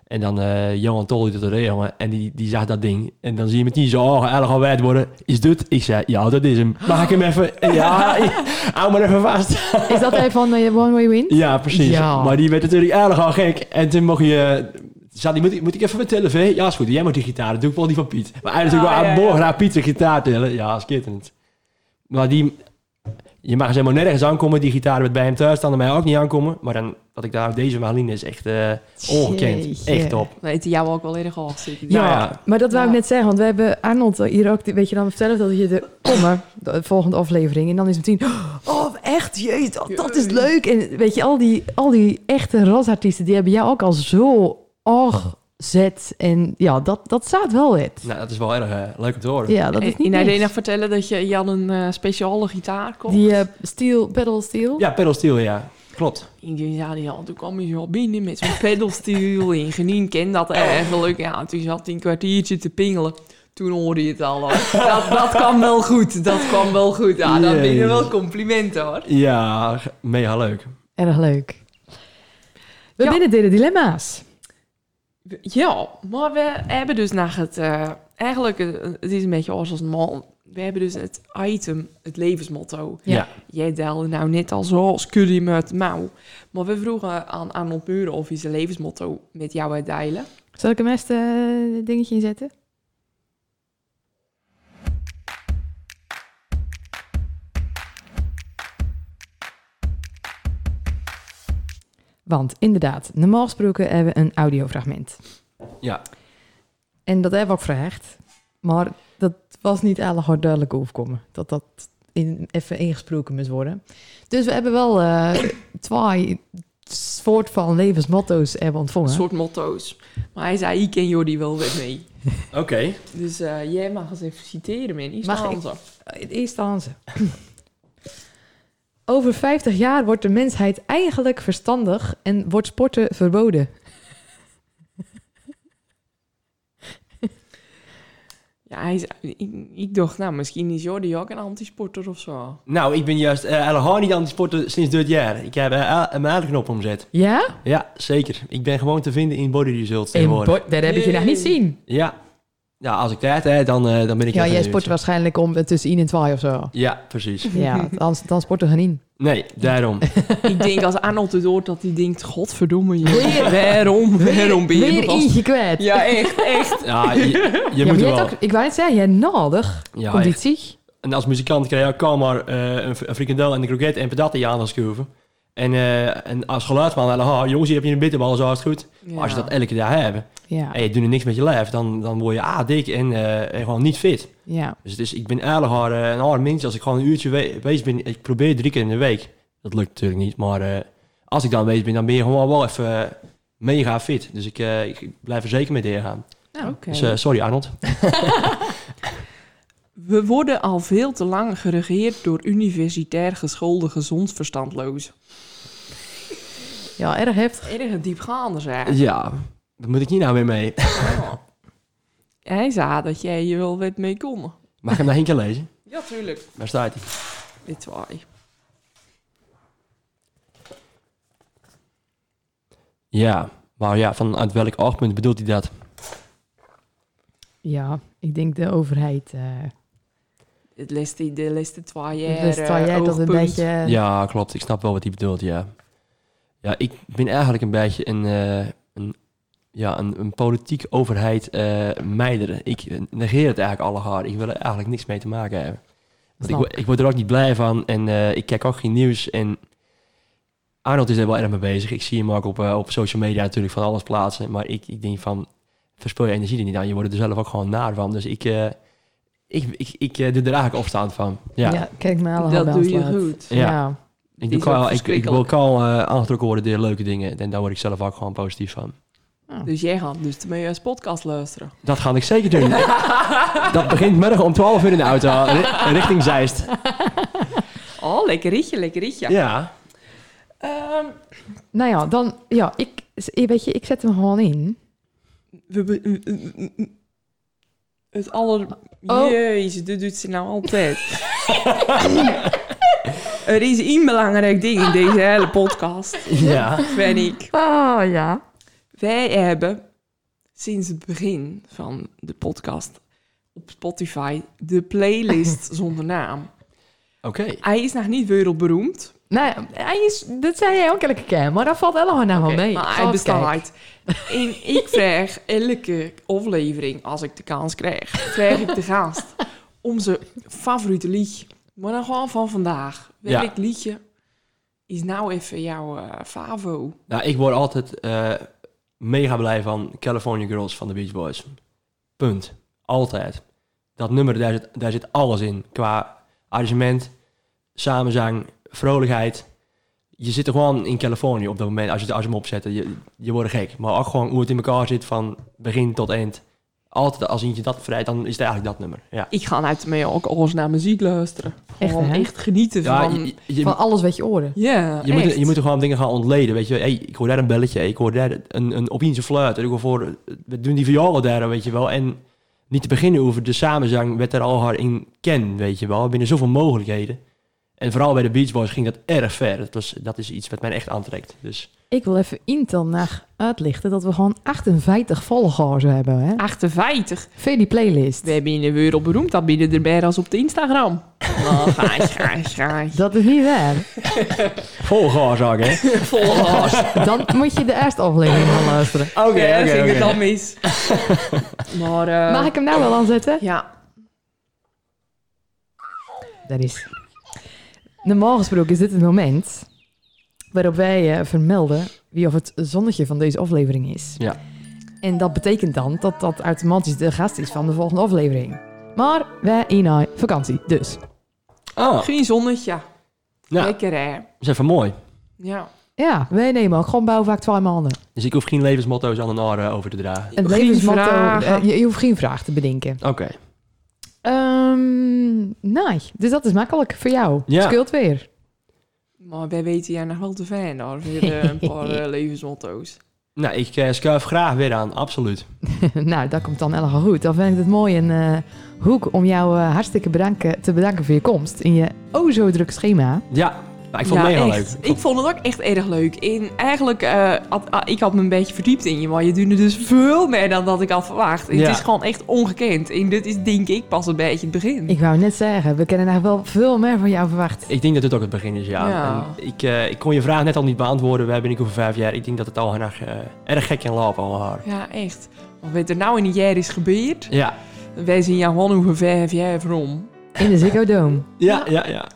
[SPEAKER 5] En dan eh, Johan Tol doet dat er, jongen. En die, die zag dat ding. En dan zie je meteen zo, oh, erg al wijd worden. Is dit? Ik zei, ja, dat is hem. Maak hem even... En Ja, ik- hou maar even vast.
[SPEAKER 4] Is dat hij van eh, One Way Win?
[SPEAKER 5] Ja, precies.
[SPEAKER 4] Ja.
[SPEAKER 5] Maar die werd natuurlijk erg al gek. En toen mocht je... Zat die, moet, ik- moet ik even mijn tellen, Vee? Ja, is goed. Jij moet die gitaar. Dat doe ik wel die van Piet. Maar hij natuurlijk
[SPEAKER 1] Ah,
[SPEAKER 5] wel
[SPEAKER 1] ja,
[SPEAKER 5] aan
[SPEAKER 1] ja.
[SPEAKER 5] morgen naar Piet zijn gitaar tillen. Ja, schitterend. Maar die... Je mag ze helemaal nergens aankomen. Die gitaar werd bij hem thuis dan mij ook niet aankomen. Maar dan, dat ik daar op deze maline is echt eh, ongekend.
[SPEAKER 4] Jeetje.
[SPEAKER 5] Echt top.
[SPEAKER 1] Dan heeft hij jou ook wel erg al zitten. Nou,
[SPEAKER 5] Ja,
[SPEAKER 4] Ja,
[SPEAKER 5] ja.
[SPEAKER 4] maar dat wou ik
[SPEAKER 1] Ja.
[SPEAKER 4] net zeggen, want we hebben Arnold hier ook, weet je dan, vertellen dat je er komen, de volgende aflevering, en dan is het meteen, oh echt, jezus, dat, dat is leuk. En weet je, al die, al die echte rasartiesten, die hebben jou ook al zo zet en ja, dat, dat staat wel het.
[SPEAKER 5] Nou, dat is wel erg eh, leuk om te horen.
[SPEAKER 4] Ja, dat is niet
[SPEAKER 1] en hij deed nog
[SPEAKER 4] niks.
[SPEAKER 1] vertellen dat je Jan een eh, speciale gitaar kocht.
[SPEAKER 4] Die eh steel, pedal steel.
[SPEAKER 5] Ja, pedal steel, ja. Klopt.
[SPEAKER 1] Ik denk, ja, die had, toen kwam hij zo binnen met zo'n pedalstoel. En Genien kent dat eigenlijk. Ja, toen zat hij een kwartiertje te pingelen. Toen hoorde je het al. hoor. Dat, dat kwam wel goed. Dat kwam wel goed. Ja, dat
[SPEAKER 5] Jezus.
[SPEAKER 1] binnen wel complimenten hoor.
[SPEAKER 5] Ja, g- mega leuk.
[SPEAKER 4] Erg leuk. We
[SPEAKER 1] Ja.
[SPEAKER 4] binnen de dilemma's.
[SPEAKER 1] Ja, maar we hebben dus naar het... eh, eigenlijk, eh, het is een beetje als een man. We hebben dus het item, het levensmotto.
[SPEAKER 4] Ja.
[SPEAKER 5] Ja.
[SPEAKER 1] Jij deelde nou net al zo curry met mouw. Maar we vroegen aan Arnold Muren of hij zijn levensmotto met jou uit deilen.
[SPEAKER 4] Zal ik hem eerst eh, een dingetje inzetten? Want inderdaad, normaal gesproken hebben we een audiofragment.
[SPEAKER 5] Ja.
[SPEAKER 4] En dat hebben we ook gevraagd. Maar dat was niet allemaal duidelijk overkomen. Dat dat in, even ingesproken moest worden. Dus we hebben wel eh twee soort van levensmotto's hebben ontvangen.
[SPEAKER 1] soort motto's. Maar hij zei, ik en Jordi wel weer mee.
[SPEAKER 5] Oké.
[SPEAKER 1] Dus eh, jij mag eens even citeren, man. Iets
[SPEAKER 4] Mag
[SPEAKER 1] van
[SPEAKER 4] ik?
[SPEAKER 1] ons af.
[SPEAKER 4] Het Eh, eerste Hanze. Over 50 jaar wordt de mensheid eigenlijk verstandig en wordt sporten verboden.
[SPEAKER 1] Ja, hij zei, ik, ik dacht, nou, misschien is Jordi ook een antisporter of zo.
[SPEAKER 5] Nou, ik ben juist eh helemaal niet aan het sporten sinds dit jaar. Ik heb eh, een mijn knop omzet.
[SPEAKER 4] Ja?
[SPEAKER 5] Ja, zeker. Ik ben gewoon te vinden in Body Results tegenwoordig.
[SPEAKER 4] dat heb ik je nog niet zien.
[SPEAKER 5] ja. ja, als ik tijd heb, dan, eh, dan ben ik...
[SPEAKER 4] Ja,
[SPEAKER 5] echt
[SPEAKER 4] jij
[SPEAKER 5] een
[SPEAKER 4] sport
[SPEAKER 5] uurtje.
[SPEAKER 4] waarschijnlijk om eh, tussen 1 en 2 of
[SPEAKER 5] <laughs>
[SPEAKER 4] zo.
[SPEAKER 5] Ja, precies.
[SPEAKER 4] Ja, dan, dan sporten we niet.
[SPEAKER 5] Nee,
[SPEAKER 4] <laughs>
[SPEAKER 5] daarom.
[SPEAKER 1] ik denk als Arnold het hoort dat hij denkt, godverdomme, Jordi, waarom, waarom ben je
[SPEAKER 4] Weer
[SPEAKER 1] nog als-
[SPEAKER 4] eentje kwijt. Ja,
[SPEAKER 1] Ja, echt, echt.
[SPEAKER 5] Ja, je, je
[SPEAKER 4] maar
[SPEAKER 5] moet
[SPEAKER 4] je
[SPEAKER 5] er
[SPEAKER 4] hebt
[SPEAKER 5] wel.
[SPEAKER 4] ook, ik wou net zeggen, je hebt nodig
[SPEAKER 5] Ja, echt.
[SPEAKER 4] conditie.
[SPEAKER 5] En als muzikant krijg je ook al maar eh, een, fr- een frikandel en een kroket en patat in je aan schuiven. En, eh, en als geluidsman, dan, ah, jongens, hier heb je een bitterbal, zo is het goed. Maar als je dat elke dag hebt
[SPEAKER 4] Ja,
[SPEAKER 5] en je doet er niks met je lijf, dan, dan word je ah, dik en, eh, en gewoon niet fit.
[SPEAKER 4] ja.
[SPEAKER 5] Dus het is, ik ben eigenlijk haar, eh, een aardig mens. Als ik gewoon een uurtje we- wees ben, ik probeer drie keer in de week. Dat lukt natuurlijk niet, maar eh, als ik dan wees ben, dan ben je gewoon wel even eh, mega fit. Dus ik, eh, ik blijf er zeker mee doorgaan.
[SPEAKER 1] Nou, oké.
[SPEAKER 5] Dus eh, sorry Arnold.
[SPEAKER 1] We worden al veel te lang geregeerd door universitair geschoolde gezondverstandlozen.
[SPEAKER 4] ja erg heftig.
[SPEAKER 1] Erg diepgaande, zeg.
[SPEAKER 5] Ja, daar moet ik niet nou weer mee. <laughs>
[SPEAKER 1] Hij zei dat jij je wel werd mee kon.
[SPEAKER 5] Mag ik hem nog één keer lezen?
[SPEAKER 1] Ja, tuurlijk.
[SPEAKER 5] Waar staat hij?
[SPEAKER 1] Dit twee.
[SPEAKER 5] Ja, maar ja, vanuit welk oogpunt bedoelt hij dat?
[SPEAKER 4] Ja, ik denk de overheid. eh
[SPEAKER 1] Het laatste, de laatste twee jaar.
[SPEAKER 4] dus sta jij
[SPEAKER 1] eh,
[SPEAKER 4] dat een
[SPEAKER 1] oogpunt.
[SPEAKER 4] beetje.
[SPEAKER 5] Ja, klopt. Ik snap wel wat hij bedoelt, ja. Ja, ik ben eigenlijk een beetje een, eh, een, ja, een, een politiek overheid eh mijder. Ik eh, negeer het eigenlijk alle hard. Ik wil er eigenlijk niks mee te maken hebben. Want ik,
[SPEAKER 4] Snap
[SPEAKER 5] wo- ik word er ook niet blij van en eh, ik kijk ook geen nieuws. En Arnold is er wel erg mee bezig. Ik zie hem ook op, eh, op social media natuurlijk van alles plaatsen. Maar ik, ik denk van, verspil je energie er niet aan. Je wordt er zelf ook gewoon naar van. Dus ik, eh, ik, ik, ik, eh, doe er eigenlijk afstand van.
[SPEAKER 4] Ja. kijk maar alle
[SPEAKER 1] Dat doe je
[SPEAKER 4] handelaars.
[SPEAKER 1] goed.
[SPEAKER 5] ja.
[SPEAKER 4] ja.
[SPEAKER 5] Ik,
[SPEAKER 1] Die
[SPEAKER 5] doe
[SPEAKER 1] is ook
[SPEAKER 5] kan, ik, ik wil
[SPEAKER 1] verschrikkelijk.
[SPEAKER 5] kan eh aangetrokken worden door leuke dingen. En daar word ik zelf ook gewoon positief van.
[SPEAKER 1] Dus jij gaat dus mee als podcast luisteren.
[SPEAKER 5] Dat ga ik zeker
[SPEAKER 1] <laughs>
[SPEAKER 5] doen. dat begint morgen om 12 uur in de auto, ri- richting Zeist.
[SPEAKER 1] Oh, lekker ritje, lekker ritje.
[SPEAKER 5] Ja.
[SPEAKER 1] Ehm,
[SPEAKER 4] Nou ja, dan. Ja, ik, eh, weet je, ik zet hem gewoon in.
[SPEAKER 1] we, be- mm, mm, mm, mm. het aller...
[SPEAKER 4] Oh.
[SPEAKER 1] Jezus, dit doet ze nou altijd. <laughs> er is één belangrijk ding in deze hele podcast,
[SPEAKER 5] ja.
[SPEAKER 1] vind ik. Ah,
[SPEAKER 4] Oh ja.
[SPEAKER 1] Wij hebben sinds het begin van de podcast op Spotify de playlist zonder naam.
[SPEAKER 5] Oké.
[SPEAKER 1] Hij is nog niet wereldberoemd,
[SPEAKER 4] Nee, Nou, hij is, dat zei jij ook elke keer, maar dat valt helemaal nou
[SPEAKER 5] Eh,
[SPEAKER 4] wel mee.
[SPEAKER 1] maar
[SPEAKER 4] Als
[SPEAKER 1] hij bestaat. En ik vraag elke aflevering, als ik de kans krijg, vraag ik de gast om zijn favoriete liedje. Maar dan gewoon van vandaag.
[SPEAKER 5] Ja.
[SPEAKER 1] Welk liedje is nou even jouw eh, favo?
[SPEAKER 5] Nou, ik word altijd eh, mega blij van California Girls van de Beach Boys. Punt. Altijd. Dat nummer, daar zit, daar zit alles in. Qua arrangement, samenzang, vrolijkheid. Je zit er gewoon in Californië op dat moment. Als je, de- als je hem opzet, je, je wordt gek. Maar ook gewoon hoe het in elkaar zit van begin tot eind. Altijd als je dat vrij, dan is het eigenlijk dat nummer. Ja.
[SPEAKER 1] Ik ga uit mij ook alles naar muziek luisteren.
[SPEAKER 4] Echt,
[SPEAKER 1] Gewoon
[SPEAKER 4] hè?
[SPEAKER 1] echt, genieten
[SPEAKER 5] Ja,
[SPEAKER 1] van...
[SPEAKER 5] je, je- je-
[SPEAKER 4] Van alles wat je oren.
[SPEAKER 1] Ja,
[SPEAKER 5] je moet,
[SPEAKER 1] echt.
[SPEAKER 5] je moet er gewoon dingen gaan ontleden. Weet je, hey, ik hoor daar een belletje, ik hoor daar een, een Opinische fluit. Ik hoor voor, we doen die violen daar, weet je wel. En niet te beginnen over de samenzang werd er al hard in ken, weet je wel. Binnen zoveel mogelijkheden. En vooral bij de Beach Boys ging dat erg ver. Dat, was, dat is iets wat mij echt aantrekt. Dus
[SPEAKER 4] Ik wil even Intel naar uitlichten dat we gewoon 58 volgers hebben. Hè?
[SPEAKER 1] 58.
[SPEAKER 4] Via die playlist.
[SPEAKER 1] We hebben in de wereld beroemd, dat binnen erbij als op de Instagram. Oh,
[SPEAKER 5] Nou,
[SPEAKER 1] gaai, gaai, gaai. <laughs>
[SPEAKER 4] Dat is niet waar.
[SPEAKER 5] vol gas ook, hè.
[SPEAKER 1] Volgers.
[SPEAKER 4] Dan moet je de eerste aflevering gaan luisteren.
[SPEAKER 5] <laughs> Oké,
[SPEAKER 1] Ja, ging het dan mis. <laughs> maar, eh,
[SPEAKER 4] Mag ik hem nou wel aanzetten?
[SPEAKER 1] Ja,
[SPEAKER 4] Dat is. Normaal gesproken is dit het moment waarop wij eh, vermelden wie of het zonnetje van deze aflevering is.
[SPEAKER 5] Ja.
[SPEAKER 4] En dat betekent dan dat dat automatisch de gast is van de volgende aflevering. Maar wij in haar vakantie, dus.
[SPEAKER 5] Ah,
[SPEAKER 1] geen zonnetje.
[SPEAKER 5] nou,
[SPEAKER 1] Lekker hè.
[SPEAKER 5] is even mooi.
[SPEAKER 1] Ja.
[SPEAKER 4] Ja, wij nemen ook gewoon bouwvaak twee maanden.
[SPEAKER 5] Dus ik hoef geen levensmotto's aan een ander over te dragen.
[SPEAKER 4] Een
[SPEAKER 1] Geen
[SPEAKER 4] levensmotto,
[SPEAKER 1] vragen.
[SPEAKER 4] eh, je, je hoeft geen vraag te bedenken.
[SPEAKER 5] Oké.
[SPEAKER 4] Ehm, nee, dus dat is makkelijk voor jou.
[SPEAKER 5] Ja.
[SPEAKER 4] Scheelt weer.
[SPEAKER 1] Maar wij weten jij nog wel te fijn hoor. Weer eh, een paar
[SPEAKER 5] <laughs>
[SPEAKER 1] eh, levensmotto's.
[SPEAKER 5] Nou, ik eh, schuif graag weer aan, absoluut.
[SPEAKER 4] <laughs> nou, dat komt dan helemaal goed. Dan vind ik het mooi een eh, hoek om jou eh, hartstikke bedanken, te bedanken voor je komst in je o zo druk schema.
[SPEAKER 5] Ja, maar ik vond
[SPEAKER 1] Ja,
[SPEAKER 5] het mega
[SPEAKER 1] echt.
[SPEAKER 5] leuk.
[SPEAKER 1] Ik vond het ook echt erg leuk. En eigenlijk, eh, had, ah, ik had me een beetje verdiept in je. Maar je doet dus veel meer dan dat ik had verwacht. En
[SPEAKER 5] Ja.
[SPEAKER 1] Het is gewoon echt ongekend. En dit is denk ik pas een beetje het begin.
[SPEAKER 4] Ik wou net zeggen, we kennen eigenlijk wel veel meer van jou verwacht.
[SPEAKER 5] Ik denk dat dit ook het begin is, ja.
[SPEAKER 1] Ja.
[SPEAKER 5] En ik, eh, ik kon je vraag net al niet beantwoorden. We hebben niet over vijf jaar. Ik denk dat het al erg, eh, erg gek kan lopen, al haar.
[SPEAKER 1] Ja, echt. Want wat er nou in een jaar is gebeurd,
[SPEAKER 5] Ja,
[SPEAKER 1] wij zien jou gewoon over vijf jaar van om.
[SPEAKER 4] In de Ziggo Dome.
[SPEAKER 5] ja, ja, ja.